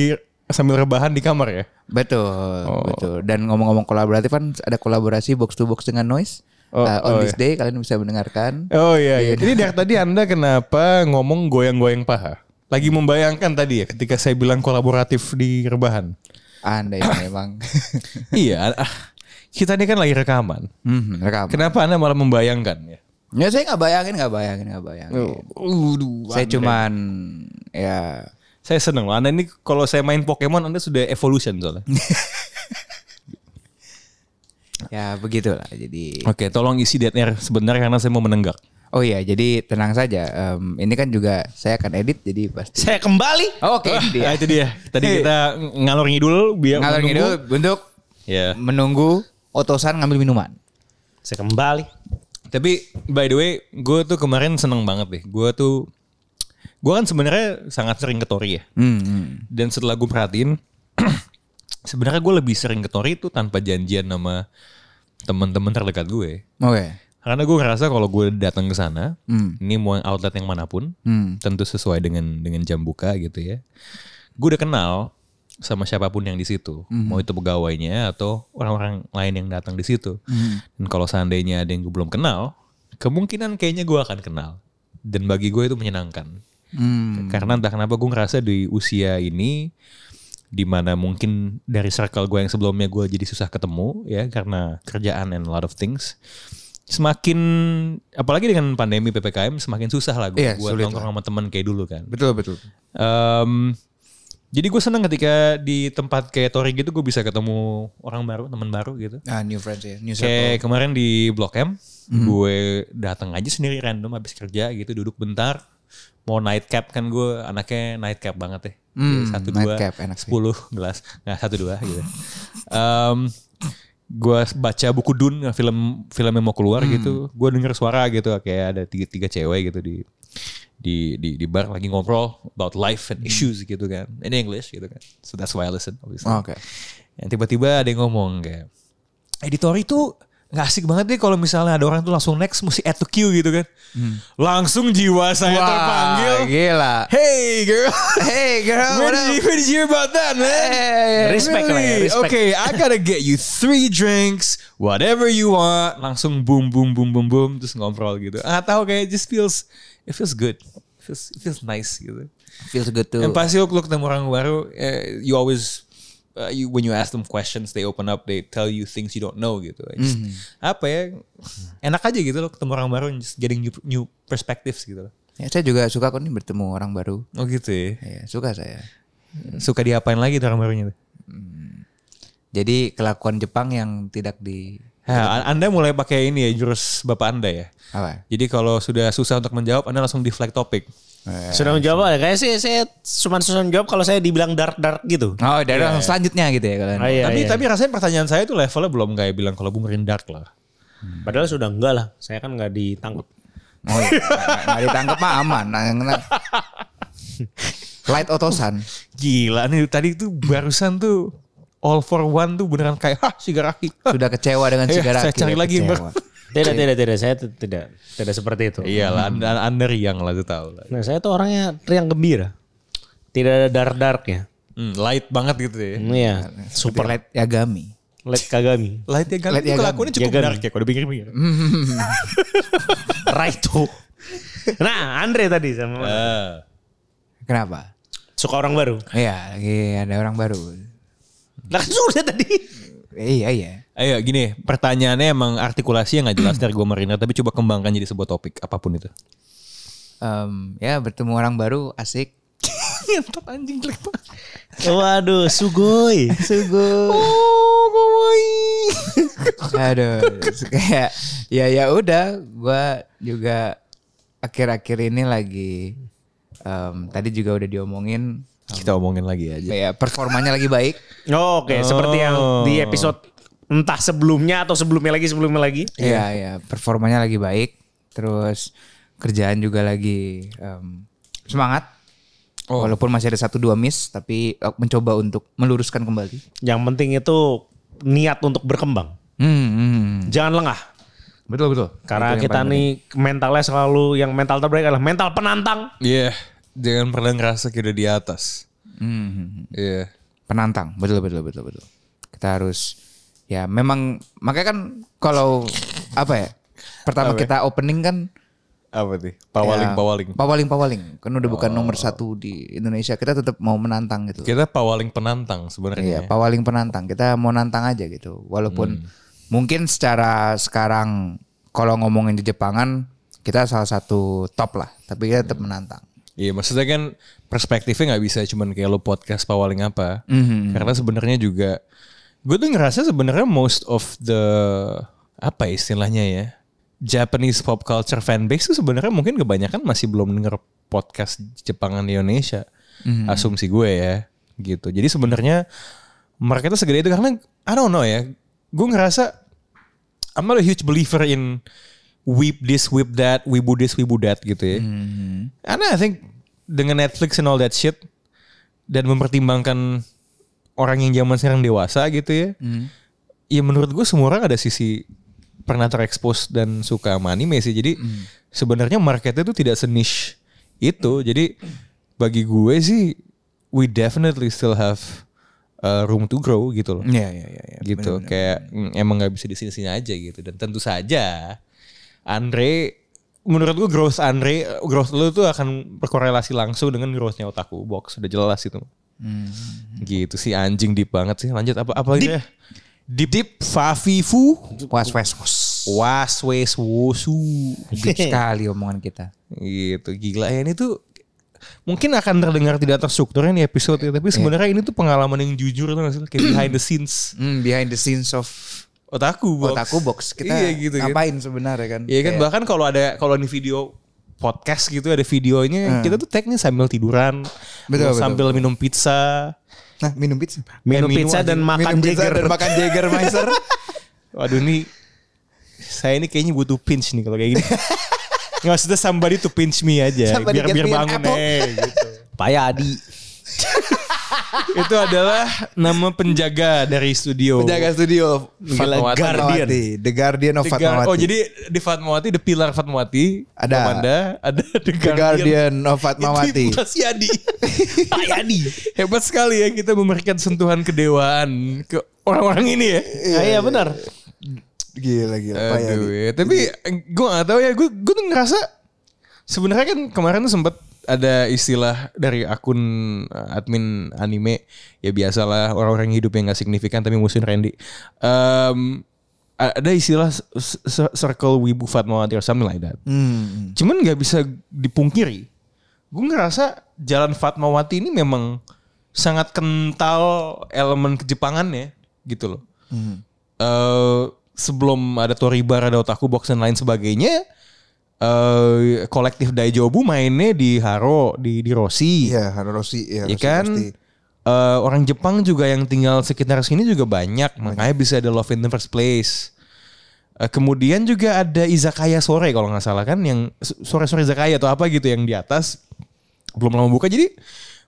sambil rebahan di kamar ya. Betul, Oh. betul. Dan ngomong-ngomong kolaboratif kan ada kolaborasi box to box dengan noise. Oh, Uh, on oh, this day kalian bisa mendengarkan. Oh iya iya. Jadi dari tadi Anda kenapa ngomong goyang-goyang paha? Lagi membayangkan tadi ya ketika saya bilang kolaboratif di rebahan. Anda yang memang iya, ah, kita ini kan lagi rekaman. Mhm, rekam. Kenapa Anda malah membayangkan ya? Ya saya nggak bayangin, nggak bayangin, nggak bayangin. Oh, saya cuman ya Saya seneng loh. Anda ini kalau saya main Pokemon Anda sudah evolution soalnya. Hmm. ya begitulah. Jadi Oke, tolong isi dead air sebentar karena saya mau menenggak. oh iya, jadi tenang saja. Em, ini kan juga saya akan edit jadi pasti. Saya kembali. Oh, Oke, ini dia. Nah, itu dia. Tadi kita ngalor ngidul biar Iya. Ngalor menunggu. ngidul untuk Ya. menunggu otosan ngambil minuman. Saya kembali. Tapi by the way, gue tuh kemarin seneng banget deh. Gue tuh gue kan sebenarnya sangat sering ke Tori ya. Mhm. Dan setelah gue perhatiin sebenarnya gue lebih sering ke Tori itu tanpa janjian sama teman-teman terdekat ya. gue. Oke. Karena gue ngerasa kalau gue datang ke sana, Hmm. ini mau outlet yang manapun, Hmm. tentu sesuai dengan dengan jam buka gitu ya. Gue udah kenal sama siapapun yang di situ, Hmm. mau itu pegawainya atau orang-orang lain yang datang di situ. Hmm. Dan kalau seandainya ada yang gue belum kenal, kemungkinan kayaknya gue akan kenal. Dan bagi gue itu menyenangkan. Hmm. Karena entah kenapa gue ngerasa di usia ini dimana mungkin dari circle gue yang sebelumnya gue jadi susah ketemu ya karena kerjaan and a lot of things semakin apalagi dengan pandemi ppkm semakin susah lah gue Iya, buat sulit nongkrong sama teman kayak dulu kan Betul betul. Em, jadi gue senang ketika di tempat kayak Tori gitu gue bisa ketemu orang baru teman baru gitu Ah, new friends ya, new circle. Hmm. Kayak kemarin di Blok M, gue datang aja sendiri random habis kerja gitu duduk bentar. Mau nightcap kan gue anaknya nightcap banget ya. Hmm, Jadi Satu dua, nightcap enak sih. sepuluh gelas. Nah satu dua gitu. Em, gue baca buku Dun film film yang mau keluar Hmm. gitu. Gue denger suara gitu kayak ada tiga tiga cewek gitu di di di di bar lagi ngobrol about life and Hmm. issues gitu kan in English gitu kan. So Oh, that's why I listen obviously. Oke. Yang tiba-tiba ada yang ngomong kayak editor itu nggak asik banget deh kalau misalnya ada orang tuh langsung next mesti add to queue gitu kan. Langsung jiwa saya terpanggil. Hmm. gila. Hey girl, Hey girl, where what did, you, up? where did you hear about that man? Hey. Respect lah ya, Really? respect. Okay, I gotta get you three drinks, whatever you want. Langsung boom boom boom boom boom terus ngobrol gitu. Nggak tahu kayak just feels it feels good. It feels it feels nice gitu. Feels good too. Dan pasti waktu lu ketemu orang baru, eh, you always uh, you, when you ask them questions, they open up, they tell you things you don't know gitu. Just, Apa ya? Enak aja gitu loh ketemu orang baru, just getting new new perspectives gitu loh. Ya, saya juga suka kok nih bertemu orang baru. Oh gitu ya. Ya, suka saya. Suka diapain lagi tuh orang barunya tuh? Jadi kelakuan Jepang yang tidak di Ha, anda mulai pakai ini ya jurus bapak anda ya. apa? Jadi kalau sudah susah untuk menjawab, anda langsung deflect topik. Sudah menjawab ya. kayak sih saya cuma susah menjawab kalau saya dibilang dark dark gitu. Oh, dari Iya, orang selanjutnya gitu ya kalian. Ah, iya, tapi iya. tapi rasanya pertanyaan saya tuh levelnya belum kayak bilang kalau Bung Rindark lah. padahal sudah enggak lah. Saya kan enggak ditangkap. Oh, iya. Nggak- nggak- nggak ditangkap mah aman. Nah, yang kena- Light otosan. Gila nih tadi tuh barusan tuh all for one tuh beneran kayak hah sigaraki. hah." Sudah kecewa dengan Iya, sigarak. saya cari lagi yang baru. Tidak, tidak, tidak. Saya t- tidak, tidak seperti itu. Iyalah, anda, anda riang lah tuh tahu lah. Nah, saya tuh orangnya riang gembira. Tidak ada dark-darknya. Hmm, light banget gitu ya. Iya, Super light Yagami. light Kagami. Light ya kan Light ya itu kan? kelakuannya cukup Ya kan? dark ya kalau dipikir-pikir. Raito. Nah, Andre tadi sama Ah. Kenapa? suka orang baru. Iya, lagi ada orang baru. Lah kan sudah tadi. Eh, Iya, iya. Ayo gini, pertanyaannya emang artikulasi yang gak jelas dari gue Marina, tapi coba kembangkan jadi sebuah topik apapun itu. Em, ya bertemu orang baru asik. Ngentot anjing jelek banget. Waduh, sugoi. Sugoi. Oh, Aduh, kayak ya ya udah, gua juga akhir-akhir ini lagi em, tadi juga udah diomongin Kita omongin lagi aja. kayak performanya lagi baik. Oh, Oke, seperti yang di episode entah sebelumnya atau sebelumnya lagi sebelumnya lagi. Iya, iya, performanya lagi baik. Terus kerjaan juga lagi em, semangat. Walaupun masih ada satu dua miss, tapi eh, mencoba untuk meluruskan kembali. Yang penting itu niat untuk berkembang. Hmm, hmm. Jangan lengah. betul betul. Karena Itu yang kita paling nih mentalnya selalu yang mental terbaik adalah mental penantang. Iya, jangan pernah ngerasa kita di atas. penting. Hmm. Iya. penantang betul betul betul betul kita harus ya memang makanya kan kalau apa ya pertama kita opening kan Apa tuh? ya, Pawaling, pawaling. pawaling pawaling kan udah bukan nomor satu di Indonesia kita tetap mau menantang gitu Kita pawaling Iya, penantang sebenarnya. pawaling penantang. Kita mau nantang aja gitu. Walaupun mungkin secara sekarang kalau ngomongin di Jepangan kita salah satu top lah, tapi kita tetap menantang. Iya, maksudnya kan perspektifnya nggak bisa cuman kayak lo podcast pawaling apa. Karena sebenarnya juga gue tuh ngerasa sebenarnya most of the apa istilahnya ya? Japanese pop culture fanbase tuh sebenarnya mungkin kebanyakan masih belum denger podcast Jepangan di Indonesia. Asumsi gue ya, gitu. Jadi sebenarnya marketnya segede itu karena I don't know ya. Gue ngerasa I'm not a huge believer in weep this, weep that, wibu this, wibu that gitu ya. Karena I think dengan Netflix and all that shit dan mempertimbangkan orang yang zaman sekarang dewasa gitu ya. Ya menurut gue semua orang ada sisi pernah terekspos dan suka sama anime sih. Jadi sebenarnya marketnya itu tidak seniche itu. Jadi bagi gue sih we definitely still have uh, room to grow gitu loh Iya, iya, iya, gitu kayak mm, emang nggak bisa di sini sini aja gitu dan tentu saja Andre menurut gue growth Andre growth lu tuh akan berkorelasi langsung dengan growthnya otakku box sudah jelas itu Hmm. gitu sih anjing deep banget sih lanjut apa apa deep. ya deep deep fafifu Was was was. waswes wosu Deep sekali omongan kita. gitu gila ya ini tuh mungkin akan terdengar tidak terstrukturnya nih episode ini, Iya. tapi sebenarnya ini tuh pengalaman yang jujur tuh nggak sih? kayak behind the scenes Hmm, behind the scenes of otakku box otakku box kita iya gitu kan. ngapain sebenarnya kan? Iya kan Kayak- bahkan kalau ada kalau di video podcast gitu ada videonya kita tuh tag nih sambil tiduran, Hmm. Betul, betul, sambil minum pizza. Nah minum pizza. Minum, minum pizza aja. dan minum makan pizza jeger. dan makan Jager Meister. Waduh ini saya ini kayaknya butuh pinch nih kalau kayak gini. Nggak maksudnya somebody to pinch me aja Somebody biar get biar me an bangun apple. eh, gitu. Pak Adi. itu adalah nama penjaga dari studio. Penjaga studio Fatmawati. Guardian. The Guardian of The Guard- Fatmawati. Oh jadi di Fatmawati, The Pilar Fatmawati, Ada. Amanda, ada The The Guardian, Guardian of Fatmawati. Itu Mas Yadi. Pak Yadi. Hebat sekali ya kita memberikan sentuhan kedewaan ke orang-orang ini ya. Iya, iya benar. Gila gila Pak Yadi. Aduh, ya. tapi gue gak tahu ya, gue gue tuh ngerasa sebenarnya kan kemarin tuh sempet ada istilah dari akun uh, admin anime ya biasalah orang-orang yang hidupnya nggak signifikan tapi musuhin Randy. Em, a- ada istilah s- s- circle wibu Fatmawati or something like that. Hmm. Cuman nggak bisa dipungkiri, gue ngerasa jalan Fatmawati ini memang sangat kental elemen kejepangannya gitu loh eh sebelum ada Toribara, ada Otaku Box dan lain sebagainya, eh kolektif Daijobu mainnya di Haro, di di Rossi. Iya, Hanoroshi ya. ya kan? Eh, orang Jepang juga yang tinggal sekitar sini juga banyak, makanya bisa ada Love in the First Place. Eh, kemudian juga ada izakaya sore kalau nggak salah kan yang sore-sore izakaya atau apa gitu yang di atas belum lama buka. Jadi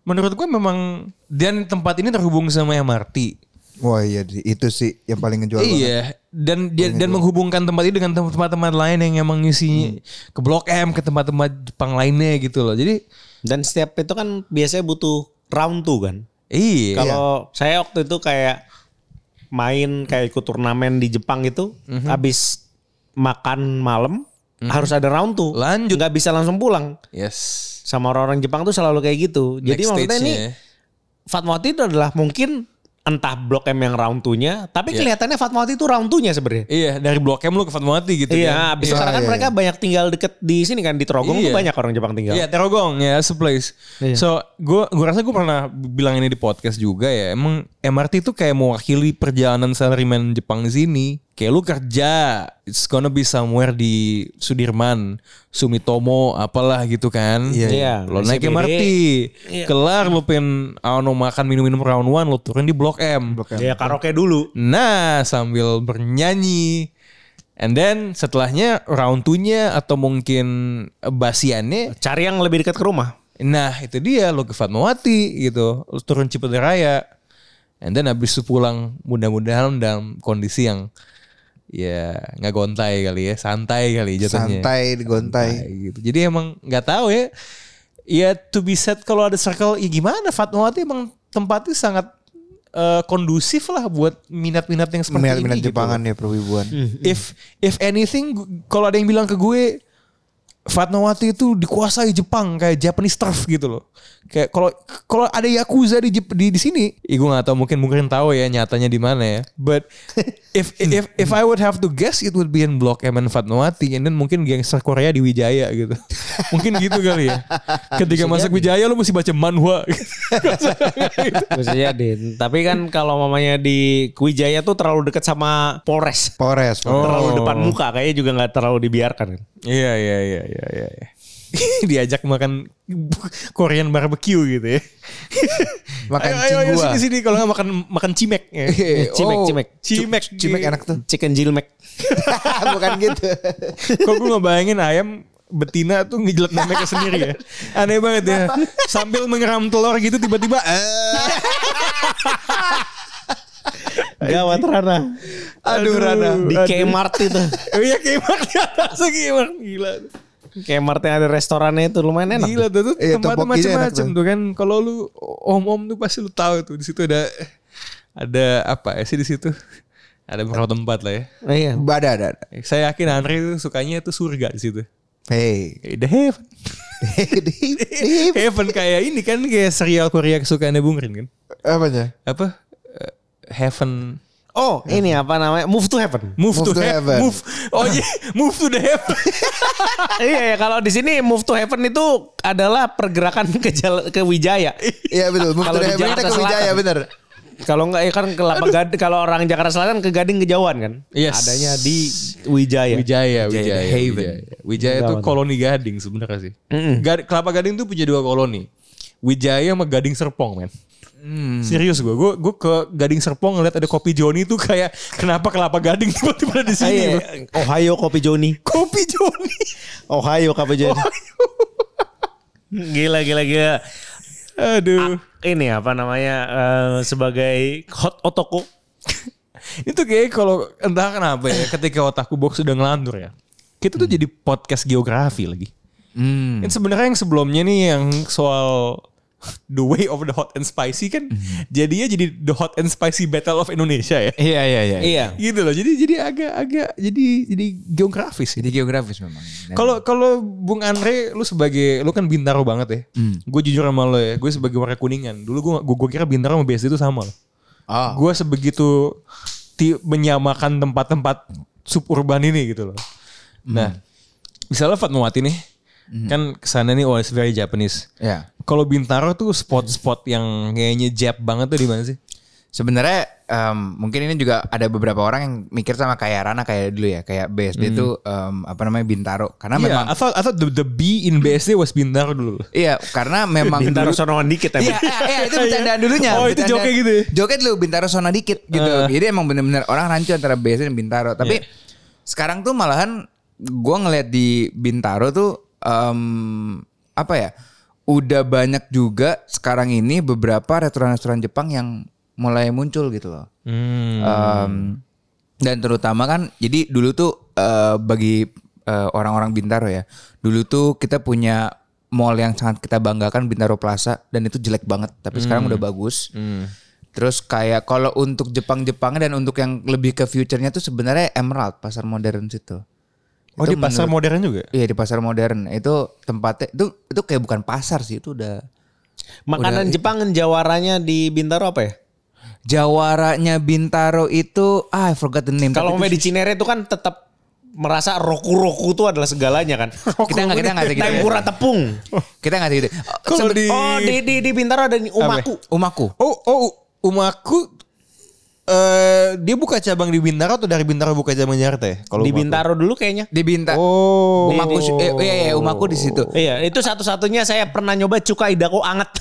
menurut gue memang dan tempat ini terhubung sama MRT. Wah iya di- itu sih yang paling ngejual banget. Iya, dan dia dan iya. menghubungkan tempat ini dengan tempat-tempat lain yang emang Hmm. isinya ke Blok M, ke tempat-tempat Jepang lainnya gitu loh. Jadi Dan setiap itu kan biasanya butuh round tuh kan. iya. Kalau saya waktu itu kayak main kayak ikut turnamen di Jepang itu Mhm. habis makan malam harus ada round tuh. Lanjut. nggak bisa langsung pulang. Yes. Sama orang-orang Jepang tuh selalu kayak gitu. Jadi Next maksudnya ini stage-nya. ya. Fatmawati itu adalah mungkin entah Blok M yang round 2-nya, tapi Iya. kelihatannya Fatmawati itu round 2-nya sebenarnya. Iya, dari Blok M lu ke Fatmawati gitu Iya, kan. abis karena Iya, kan iya, mereka banyak tinggal deket di sini kan di Trogong tuh Iya. banyak orang Jepang tinggal. Iya, Terogong ya, as a place. Iya. So, gue gua rasa gue pernah bilang ini di podcast juga ya. Emang MRT itu kayak mewakili perjalanan salaryman Jepang di sini. Kayak lu kerja, it's gonna be somewhere di Sudirman, Sumitomo, apalah gitu kan. Iya. Lo naik SCBD. MRT, kelar lu pengen ano makan minum-minum round one, lu turun di Blok M. Blok M. Ya karaoke dulu. Nah, sambil bernyanyi. And then setelahnya round 2-nya atau mungkin eh, basiannya Cari yang lebih dekat ke rumah. Nah itu dia lo ke Fatmawati gitu Lo turun Cipete Raya And then habis itu pulang mudah-mudahan dalam kondisi yang ya nggak gontai kali ya santai kali jatuhnya Santai digontai. Santai gitu jadi emang nggak tahu ya ya to be said kalau ada circle ya gimana Fatmawati emang tempatnya sangat eh, kondusif lah buat minat-minat yang seperti ini Minat-minat gitu. Jepangan ya perwibuan. Mm-hmm. if if anything gu- kalau ada yang bilang ke gue Fatmawati itu dikuasai Jepang kayak Japanese turf gitu loh. Kayak kalau kalau ada yakuza di Jep- di, di sini, ih gue nggak tahu mungkin mungkin tahu ya nyatanya di mana ya. But if if if I would have to guess it would be in Blok M and Fatmawati and then mungkin gangster Korea di Wijaya gitu. mungkin gitu kali ya. Ketika masuk Wijaya lu mesti baca manhwa. Bisa jadi. Tapi kan kalau mamanya di Wijaya tuh terlalu dekat sama Polres. Polres. Polres. Terlalu Oh. depan muka kayaknya juga nggak terlalu dibiarkan. kan. Iya iya iya iya iya. iya. Diajak makan Korean barbecue gitu ya. Makan ayo, ayo, ayo cinggua. sini sini kalau nggak makan makan cimek. ya. Eh, Cimek, Oh, cimek. cimek, Cimek enak tuh. Chicken jilmek. Bukan gitu. Kok gue ngebayangin ayam betina tuh ngejilat memeknya sendiri ya. Aneh banget ya. Sambil mengeram telur gitu tiba-tiba eh, Gawat Rana. aduh, Rana. Di Kmart itu. Oh iya kemak di atas kemak gila. Kmart yang ada restorannya itu lumayan enak. Gila tuh, tuh Iya, tempat topokinya enak macam-macam tuh. tuh kan. Kalau lu om-om tuh pasti lu tahu tuh di situ ada ada apa ya sih di situ? Ada beberapa tempat lah ya. Oh, iya. Ada ada. ada. Saya yakin Andre itu sukanya itu surga di situ. Hey. The heaven. heaven kayak ini kan kayak serial Korea kesukaannya Bung Rin kan. Apanya? Apa? eh, Heaven. Oh, ini apa namanya? Move to heaven. Move, to, Move to hea- heaven. Move. Oh iya, move to the heaven. iya, iya, kalau di sini move to heaven itu adalah pergerakan ke jala- ke Wijaya. Iya betul. Move to Kalau the di heaven kita Jakarta ke Wijaya Selatan. bener. Kalau enggak ya kan ke Lapa Gading- kalau orang Jakarta Selatan ke Gading kejauhan kan? Yes. Adanya di Wijaya. Wijaya, Wijaya, Haven. Wijaya. Wijaya itu koloni Gading sebenarnya sih. Gad- Kelapa Gading tuh punya dua koloni. Wijaya sama Gading Serpong, men. Hmm. Serius gue, gue gue ke Gading Serpong ngeliat ada kopi Joni tuh kayak kenapa Kelapa Gading tiba-tiba ada di Ah, iya. sini? bro? Ohio Kopi Joni. Kopi Joni. Ohio Kopi Joni. gila gila gila. Aduh. ini apa namanya eh, sebagai hot otoko. Itu kayak kalau entah kenapa ya ketika otakku box udah ngelantur ya. Kita tuh jadi podcast geografi lagi. Hmm. Ini sebenarnya yang sebelumnya nih yang soal The Way of the Hot and Spicy kan jadinya jadi The Hot and Spicy Battle of Indonesia ya. Iya iya iya. Iya. Gitu loh. Jadi jadi agak-agak jadi jadi geografis ya. Jadi geografis memang. Kalau kalau Bung Andre, lu sebagai lu kan bintaro banget ya. Gue jujur sama lo ya, gue sebagai warga kuningan. Dulu gue gue kira bintaro sama BSD itu sama loh. oh. Gue sebegitu ti- menyamakan tempat-tempat suburban ini gitu loh. Nah, misalnya Fatmawati nih, Hmm. kan kesana nih oh it's very Japanese. Ya. Kalau Bintaro tuh spot-spot yang kayaknya Jap banget tuh di mana sih? Sebenarnya em, mungkin ini juga ada beberapa orang yang mikir sama kayak Rana kayak dulu ya kayak BSD itu em, apa namanya Bintaro karena Iya, memang I thought, I thought the, the B in BSD was Bintaro dulu. iya karena memang Bintaro dulu- sonongan dikit tapi. Iya, iya, iya, itu bercandaan dulunya. Oh, itu Bercandaan- joke-nya gitu ya? Joke dulu Bintaro zona dikit gitu. Jadi emang bener-bener orang rancu antara BSD dan Bintaro. Tapi Iya. sekarang tuh malahan gua ngeliat di Bintaro tuh em, apa ya? Udah banyak juga sekarang ini beberapa restoran-restoran Jepang yang mulai muncul gitu loh. Hmm. Em, dan terutama kan jadi dulu tuh eh, bagi eh, orang-orang Bintaro ya. Dulu tuh kita punya mall yang sangat kita banggakan Bintaro Plaza dan itu jelek banget tapi Hmm. sekarang udah bagus. Terus kayak kalau untuk Jepang-Jepangnya dan untuk yang lebih ke future-nya tuh sebenarnya Emerald pasar modern situ. Oh, Itu di pasar menurut- modern juga. Iya di pasar modern. Itu tempatnya itu itu kayak bukan pasar sih itu udah Makanan Jepang jawaranya di Bintaro apa ya? Jawaranya Bintaro itu ah I forgot the name. Kalau Tapi di Cinere itu kan tetap merasa roku-roku itu adalah segalanya kan. Kita nggak- kita nggak segitu ya. Tempura tepung. kita nggak gitu. Kalau di Oh di di di Bintaro ada umaku. Umaku. Oh, oh, Umaku eh dia buka cabang di Bintaro atau dari Bintaro buka cabang Jakarta ya? Kalau Di Umaku. Bintaro dulu kayaknya. Di Binta. Oh. Umaku si- eh, iya, iya, Umaku di situ. Oh. Iya, itu satu-satunya saya pernah nyoba cuka idako anget.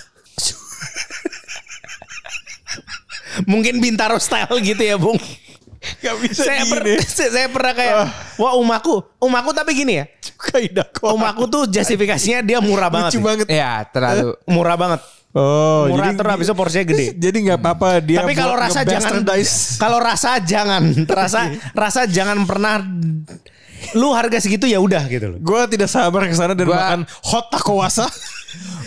Mungkin Bintaro style gitu ya, Bung. Gak bisa Saya, per- gini. saya pernah kayak, wah umaku, umaku tapi gini ya. Kaidako. Umaku tuh justifikasinya dia murah banget. Lucu sih. banget. Ya, terlalu Murah banget. Oh, murah terus habis itu porsinya gede. Jadi nggak apa-apa dia tapi kalau buat rasa jangan ngebastardise. kalau rasa jangan rasa rasa jangan pernah lu harga segitu ya udah gitu loh. Gue tidak sabar ke sana dan Gua- makan hot takowasa.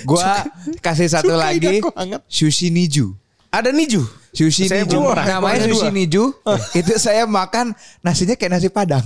gua kasih satu suka lagi idaku hangat. sushi niju. Ada niju. Sushi Saya Oh. niju belum pernah. namanya Pernah sushi dua. niju. itu saya makan nasinya kayak nasi padang.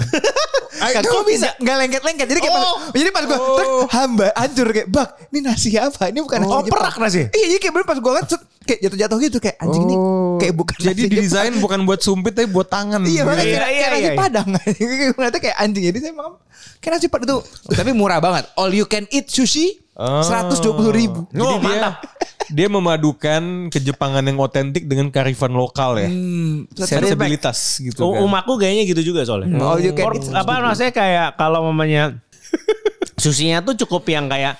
Kok bisa nggak lengket-lengket jadi kayak Oh. pas, jadi pas gua trek, hamba hancur kayak bak ini nasi apa ini bukan nasi Oh, Jepang." perak nasi. iya jadi kayak bener pas gua liat set, kayak jatuh-jatuh gitu kayak anjing ini Oh. kayak bukan Jadi nasi Jepang. didesain bukan buat sumpit tapi buat tangan. Iya, makanya kayak, Iya, iya, kayak nasi iya. padang. Ngeliatnya kayak anjing. Jadi saya makan kayak nasi padang itu. Tapi murah banget. All you can eat sushi Oh. 120 ribu. Jadi dia dia memadukan kejepangan yang otentik dengan karifan lokal ya. Sensibilitas gitu Hmm. U- kan. Umaku kayaknya gitu juga soalnya. Hmm, all you can Or- eat. apa maksudnya kayak kalau mamanya susinya tuh cukup yang kayak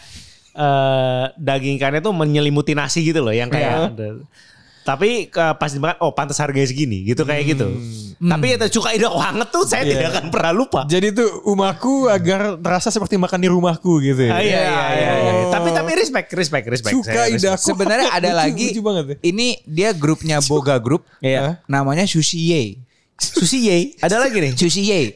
eh daging ikannya tuh menyelimuti nasi gitu loh yang kayak ada- tapi eh, pas dimakan oh pantas harganya segini gitu kayak gitu. Tapi ya cuka idak banget tuh saya tidak akan pernah lupa. Jadi tuh umaku agar terasa seperti makan di rumahku gitu ya. Ah, iya, iya, iya, iya. Oh. Tapi tapi respect, respect, respect. Cuka Saya respect. idaku. Sebenarnya ada Lucu- lagi. Lucu banget ya. Ini dia grupnya Boga Group. Iya. Namanya Sushi Ye. Sushi yei. Ada lagi nih. Sushi Ye.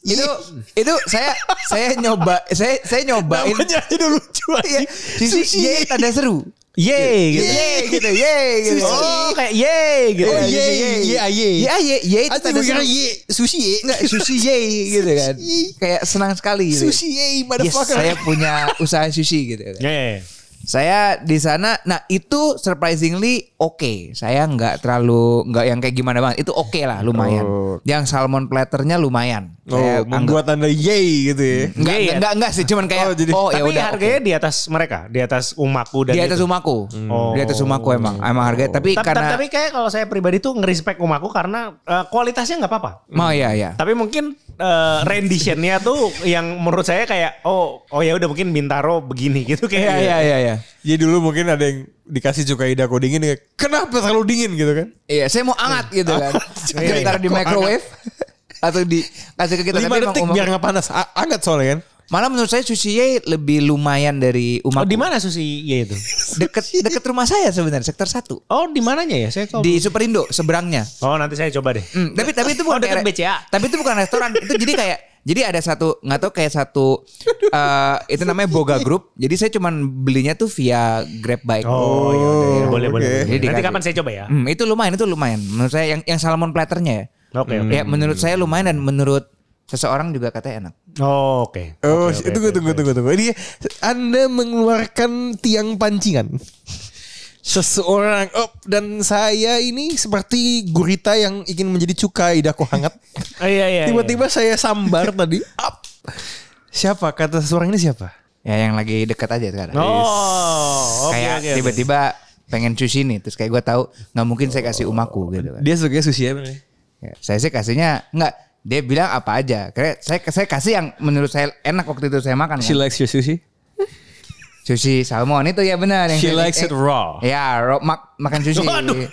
itu itu saya saya nyoba saya saya nyobain aja udah lucu Iya, sushi ye tanda seru Yey gitu. ye gitu ye gitu Oh kayak yey gitu. Oh, ye, ye, ye. Iya ye ye itu Aku tanda kira seru ye, sushi ye. Enggak sushi ye gitu kan. Kayak senang sekali gitu. Sushi ye, Yes, motherfucker. saya punya usaha sushi gitu kan. Yey. Saya di sana nah itu surprisingly oke. Saya nggak terlalu nggak yang kayak gimana banget. Itu oke lah lumayan. Yang salmon platternya lumayan. Oh, membuat tanda ye gitu ya. enggak, Iya, iya. enggak, enggak, enggak sih cuman kayak oh, Oh, jadi- ya Tapi udah. harganya di atas mereka, di atas umaku oke. dan Di atas itu. rumahku. Oh. Di atas rumahku emang. Emang harganya Hmm. tapi Tapi, karena tapi kayak kalau saya pribadi tuh ngerespek umaku karena eh, kualitasnya nggak apa-apa. mau ya ya. Tapi mungkin eh, renditionnya tuh yang menurut saya kayak oh oh ya udah mungkin bintaro begini gitu kayak. Iya iya iya iya. Jadi dulu mungkin ada yang dikasih cuka idako dingin kayak, kenapa terlalu dingin gitu kan? Iya, saya mau angat gitu kan. Iya, Kita taruh di microwave atau di kasih ke kita Lima emang detik umak- biar nggak panas, A- hangat soalnya kan. Malah menurut saya Sushi Ye lebih lumayan dari Oh umat. di mana sushi ya itu? Deket deket rumah saya sebenarnya sektor 1. Oh di mananya ya? Saya kalau Di Superindo seberangnya. Oh nanti saya coba deh. Hmm, tapi tapi itu bukan Oh, deket kayak- BCA. Tapi itu bukan restoran. itu jadi kayak jadi ada satu nggak tahu kayak satu eh, itu namanya Boga Group. Jadi saya cuman belinya tuh via Grab Bike. Oh, iya, iya, iya. Oh, boleh oke. boleh. boleh. Jadi Nanti dikasih. kapan saya coba ya? Hmm, itu lumayan itu lumayan. Menurut saya yang yang salmon platternya ya. Oke oke. Ya menurut saya lumayan dan menurut seseorang juga katanya enak. Oh, Oke. Oh, Oke, oke, tunggu, oke, tunggu, oke. tunggu, tunggu. Ini Anda mengeluarkan tiang pancingan. Seseorang oh, dan saya ini seperti gurita yang ingin menjadi cukai daku hangat. Ah, iya, iya, iya. Tiba-tiba saya sambar tadi. Up. Siapa kata seseorang ini siapa? Ya yang lagi dekat aja sekarang. Oh, oke kayak oke, oke. tiba-tiba pengen cuci nih terus kayak gue tahu nggak mungkin saya kasih umaku gitu kan Dia sebagai sushi ya. Ya, saya sih kasihnya nggak dia bilang apa aja kayak saya saya kasih yang menurut saya enak waktu itu saya makan kan? likes your sushi. sushi salmon itu ya benar Eh, yang She saya- likes it raw. ya raw- mak- makan sushi Waduh.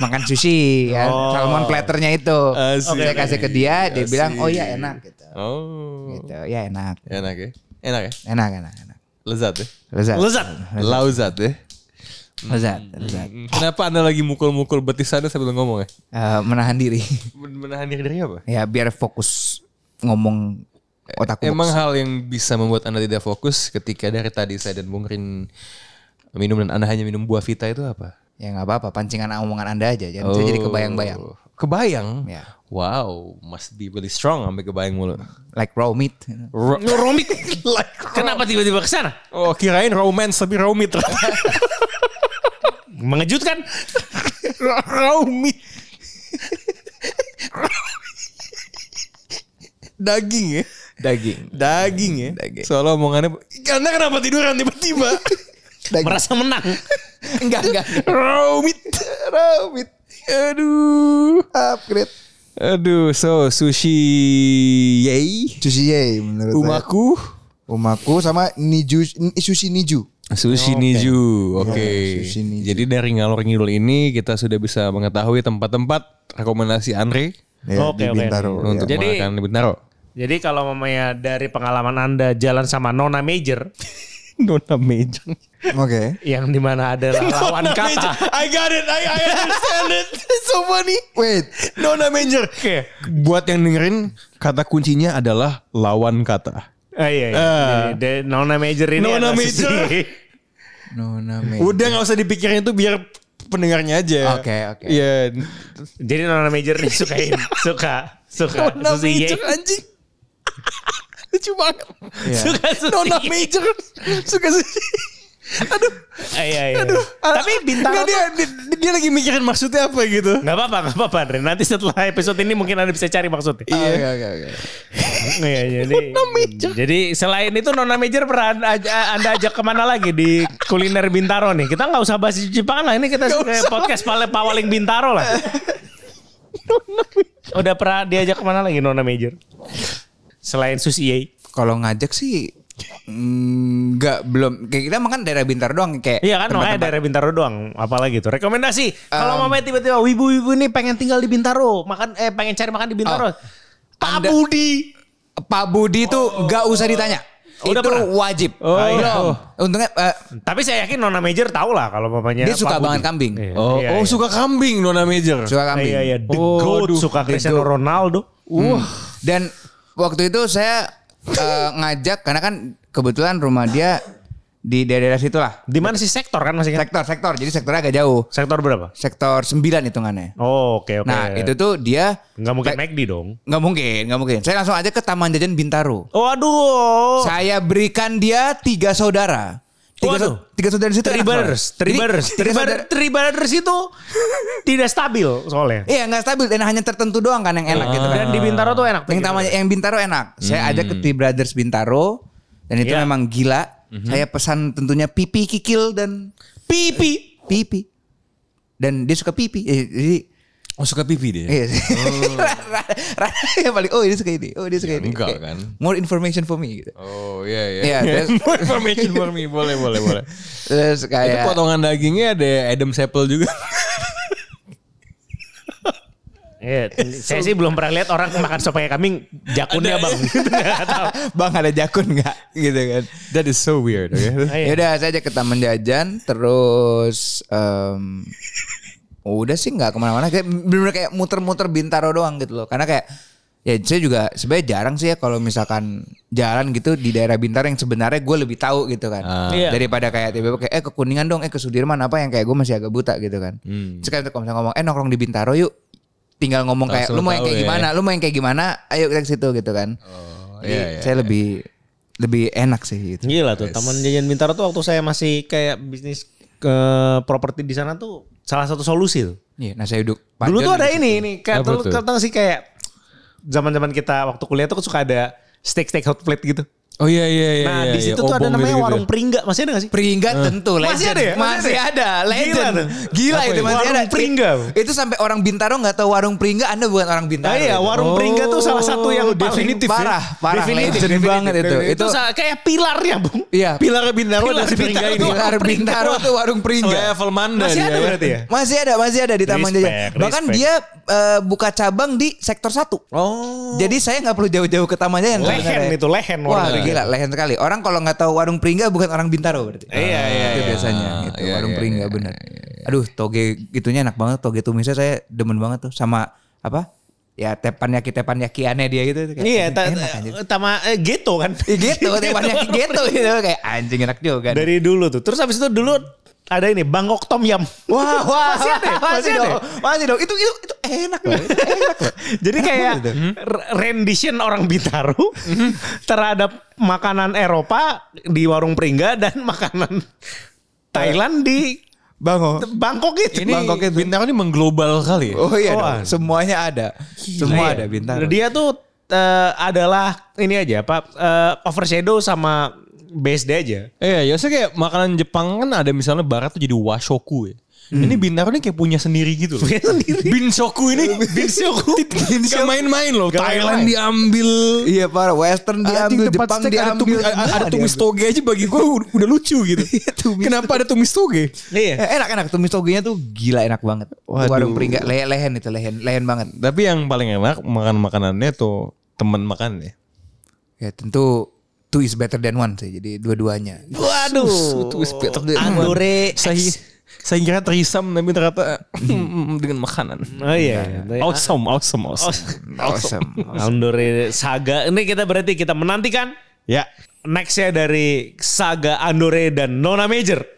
makan sushi ya salmon platternya itu Asik. saya kasih ke dia dia bilang oh ya enak gitu Oh. gitu ya enak Enak ya. Enak ya. enak enak enak Lezat ya. lezat Lezat. Lauzat ya. lezat lezat Kenapa Anda lagi mukul-mukul betis Anda sambil ngomong ya? Eh, menahan diri Menahan diri dari apa? ya biar fokus ngomong otakku Emang hal yang bisa membuat Anda tidak fokus ketika dari tadi saya dan Bung Rin minum dan Anda hanya minum buah vita itu apa? ya nggak apa-apa pancingan omongan anda aja jangan saya jadi kebayang-bayang Oh, Kebayang? Ya. Wow, must be really strong sampai kebayang mulu. like raw meat Ro- Romik. Kenapa tiba-tiba ke sana? oh, kirain romance tapi raw meat. Mengejutkan. raw meat. Daging ya? daging Daging ya? Daging. Soalnya omongannya, Anda kenapa tiduran tiba-tiba? Merasa menang. enggak enggak raw meat. Raw meat. Aduh. upgrade Aduh, so sushi yay, Sushi Yei menurut saya. umaku, Umaku sama Niju Sushi Niju. Iya, sushi niju, oke. sushi niju. Jadi dari ngalor ngidul ini kita sudah bisa mengetahui tempat-tempat rekomendasi Andre Ya, Iya, Oke, di oke. Bintaro. untuk ya. Jadi- makan di Bintaro. Jadi kalau mamanya dari pengalaman Anda jalan sama Nona Major Nona Major. Oke. yang dimana ada lawan kata. I got it, I, I understand it. It's so funny. Wait, Nona Major. Oke. Buat yang dengerin, kata kuncinya adalah lawan kata. Ah, iya, iya. Jadi, de- Nona Major ini adalah Nona Major. sushi. no name. Udah nggak usah dipikirin itu biar pendengarnya aja. Oke, oke. Iya. Jadi Nona Major nih sukain, suka, suka Nona sushi ye. Major anjing. Lucu banget. Iya. Ya. Suka sushi. Nona Major suka sushi. Aduh, Ah, iya, iya. aduh. Tapi bintang Nggak, dia, dia, Eh, dia lagi mikirin maksudnya apa Gak gitu. apa-apa, gak apa-apa Andre. Nanti setelah episode ini mungkin Anda bisa cari maksudnya. Oh, iya, ya? Oke, oke, oke. Iya, jadi, jadi selain itu Nona Major pernah aj- Anda ajak kemana lagi di kuliner Bintaro nih? Kita nggak usah bahas Jepang lah. Ini kita suka podcast pale pawaling Bintaro lah. Udah pernah diajak kemana lagi Nona Major? Selain sushi ye. kalau ngajak sih nggak belum kayak kita makan daerah Bintar doang kayak Iya kan makanya daerah Bintaro doang. Apalagi tuh rekomendasi. Um, Kalau mamanya tiba-tiba wibu-wibu nih pengen tinggal di Bintaro, makan eh pengen cari makan di Oh. Bintaro. Pak Anda- Budi. Oh. Pak Budi itu nggak usah ditanya Udah itu pernah? wajib Oh, iya. Belum. untungnya eh, Tapi saya yakin Nona Major tahu lah kalau mamanya dia suka Pak Budi. banget kambing Iya, Oh, iya, oh iya. suka kambing Nona Major. suka kambing Iya iya the Oh, goat aduh, suka the Cristiano Ronaldo. Hmm. Wah. Dan waktu itu saya eh, ngajak karena kan kebetulan rumah dia di daerah-daerah situ lah. Di mana sih sektor kan masih kan? Sektor, sektor. Jadi sektornya agak jauh. Sektor berapa? Sektor 9 hitungannya. Oh, oke oke. Nah, itu tuh dia nggak mungkin Kayak- McD dong. nggak mungkin, nggak mungkin. Saya langsung aja ke Taman Jajan Bintaro. Waduh. Saya berikan dia tiga saudara. Tiga, Waduh. sau- tiga saudara di situ. enak Tribers, soalnya. Jadi, Tribers, tiga saudara- Tribers, Tribers itu tidak stabil soalnya. Iya, nggak stabil dan hanya tertentu doang kan yang enak Ah. gitu kan. Dan di Bintaro tuh gitu. enak. Yang namanya yang Bintaro enak. Hmm. Saya ajak ke Tea Brothers Bintaro dan itu Iya. memang gila. Hmm. Saya pesan tentunya pipi kikil dan pipi pipi. Dan dia suka pipi. Eh, Jadi Oh, suka pipi dia. iya. Oh. Ra- ra- ra- yang paling oh dia suka ini. Oh dia suka ini. enggak Kayak, kan. More information for me gitu. Oh, iya iya. Iya, terus- Iya. More information for me. Boleh, boleh, boleh. Terus Itu kayak potongan dagingnya ada Adam Sepple juga. Iya, saya sih belum pernah lihat orang makan sop pakai kambing jakunnya bang. Gitu kan? Nggak tahu. Bang ada jakun nggak? Gitu kan. That is so weird. Okay? Iya. Ya udah saya ajak ke taman jajan terus em, udah sih nggak kemana-mana kayak bener kayak muter-muter bintaro doang gitu loh karena kayak ya saya juga sebenarnya jarang sih ya kalau misalkan jalan gitu di daerah Bintaro yang sebenarnya gue lebih tahu gitu Ah. kan Iya. daripada kayak tiba-tiba kayak eh ke Kuningan dong eh ke Sudirman apa yang kayak gue masih agak buta gitu kan Hmm. sekarang kalau misalnya ngomong eh nongkrong di Bintaro yuk tinggal ngomong kayak Langsung lu mau yang tahu kayak ya. Oh, gimana lu mau yang kayak gimana ayo kita ke situ gitu kan Jadi iya, saya lebih lebih enak sih gitu Gila tuh, Taman Jajan Bintaro tuh waktu saya masih kayak bisnis ke properti di sana tuh salah satu solusi tuh. Iya, nasi uduk. Pak Dulu John tuh ada gitu. ini nih, kayak Apa dulu tuh? tentang sih kayak zaman-zaman kita waktu kuliah tuh suka ada steak steak hot plate gitu. Oh iya iya iya. Nah, iya, di iya. situ tuh ada Obong namanya gitu-gitu. warung Peringga, masih ada gak sih? Peringga tentu legend. Masih ada ya? Masih Masih ada, legend. tuh. Gila, Apa itu ya? masih Warung ada. Peringga. Itu, itu sampai orang Bintaro nggak tahu warung Peringga, Anda bukan orang Bintaro. Nah, iya, itu. warung Peringga tuh salah satu yang gitu. paling Oh, definitif parah, parah, Definitif, legend definitif. banget itu. Itu, Itu, sa- kayak pilarnya, Bung. iya. Pilar Bintaro Pilar dan si Peringga Bintaro ini. tuh Pilar warung Peringga. Bintaro tuh warung Peringga. Level Manda Masih ada berarti ya? Masih ada, masih ada di Taman Respect, Jajan. Bahkan respect. dia eh, buka cabang di sektor 1. Oh. Jadi saya nggak perlu jauh-jauh ke Taman Jajan. Lehen sebenarnya. itu, lehen warung Wah, Peringga. gila, lehen sekali. Orang kalau nggak tahu warung Peringga bukan orang Bintaro berarti. Iya, iya, Itu iya. biasanya gitu. warung Peringga bener. Aduh, toge itunya enak banget. Toge tumisnya saya demen banget tuh sama apa? Ya tepanyaki tepanyaki aneh dia gitu. Kayak, Iya, "Hmm, ta- enak anjir." tama eh, gitu kan. Ih, gitu, tepanyaki gitu gitu kayak anjing enak juga. nih. Dari dulu tuh. Terus habis itu dulu ada ini Bangkok Tom Yam. Wah, wah, Masih ada ya? wah, masih Masih ada dong, ya? masih dong. Itu itu itu enak loh, itu enak loh. Jadi kayak gitu? r- rendition orang Bintaro terhadap makanan Eropa di warung Peringga dan makanan Thailand di Bango. Bangkok itu. Ini Bangkok itu. Bintaro ini mengglobal kali ya. Oh iya, Wah. dong. semuanya ada, semua ya. ada bintang. Nah, Dia tuh eh, adalah ini aja Pak eh, overshadow sama base dia aja. Iya, ya saya kayak makanan Jepang kan ada misalnya barat tuh jadi washoku ya. Ini Bintaro ini kayak punya sendiri gitu loh. Punya sendiri. Binsoku ini. Binsoku. Gak main-main loh. Gak Thailand main-main. diambil. Iya parah Western Anjing, diambil tempat Jepang steak ada, diambil tumis, ada, ada Nah, tumis toge aja bagi gue udah lucu gitu. Kenapa ada tumis toge? Iya. Eh, enak enak tumis togenya tuh gila enak banget. Waduh. Warung peringga le- lehen itu lehen lehen banget. Tapi yang paling enak makan makanannya tuh temen makan ya. Ya tentu two is better than one sih. Jadi dua-duanya. Waduh. Andore. Saya saya kira terisam tapi ternyata dengan makanan. Oh iya. Awesome, awesome, awesome. Awesome. nah, Andore Saga. Ini kita berarti kita menantikan Ya. nextnya dari Saga Andore dan Nona Major.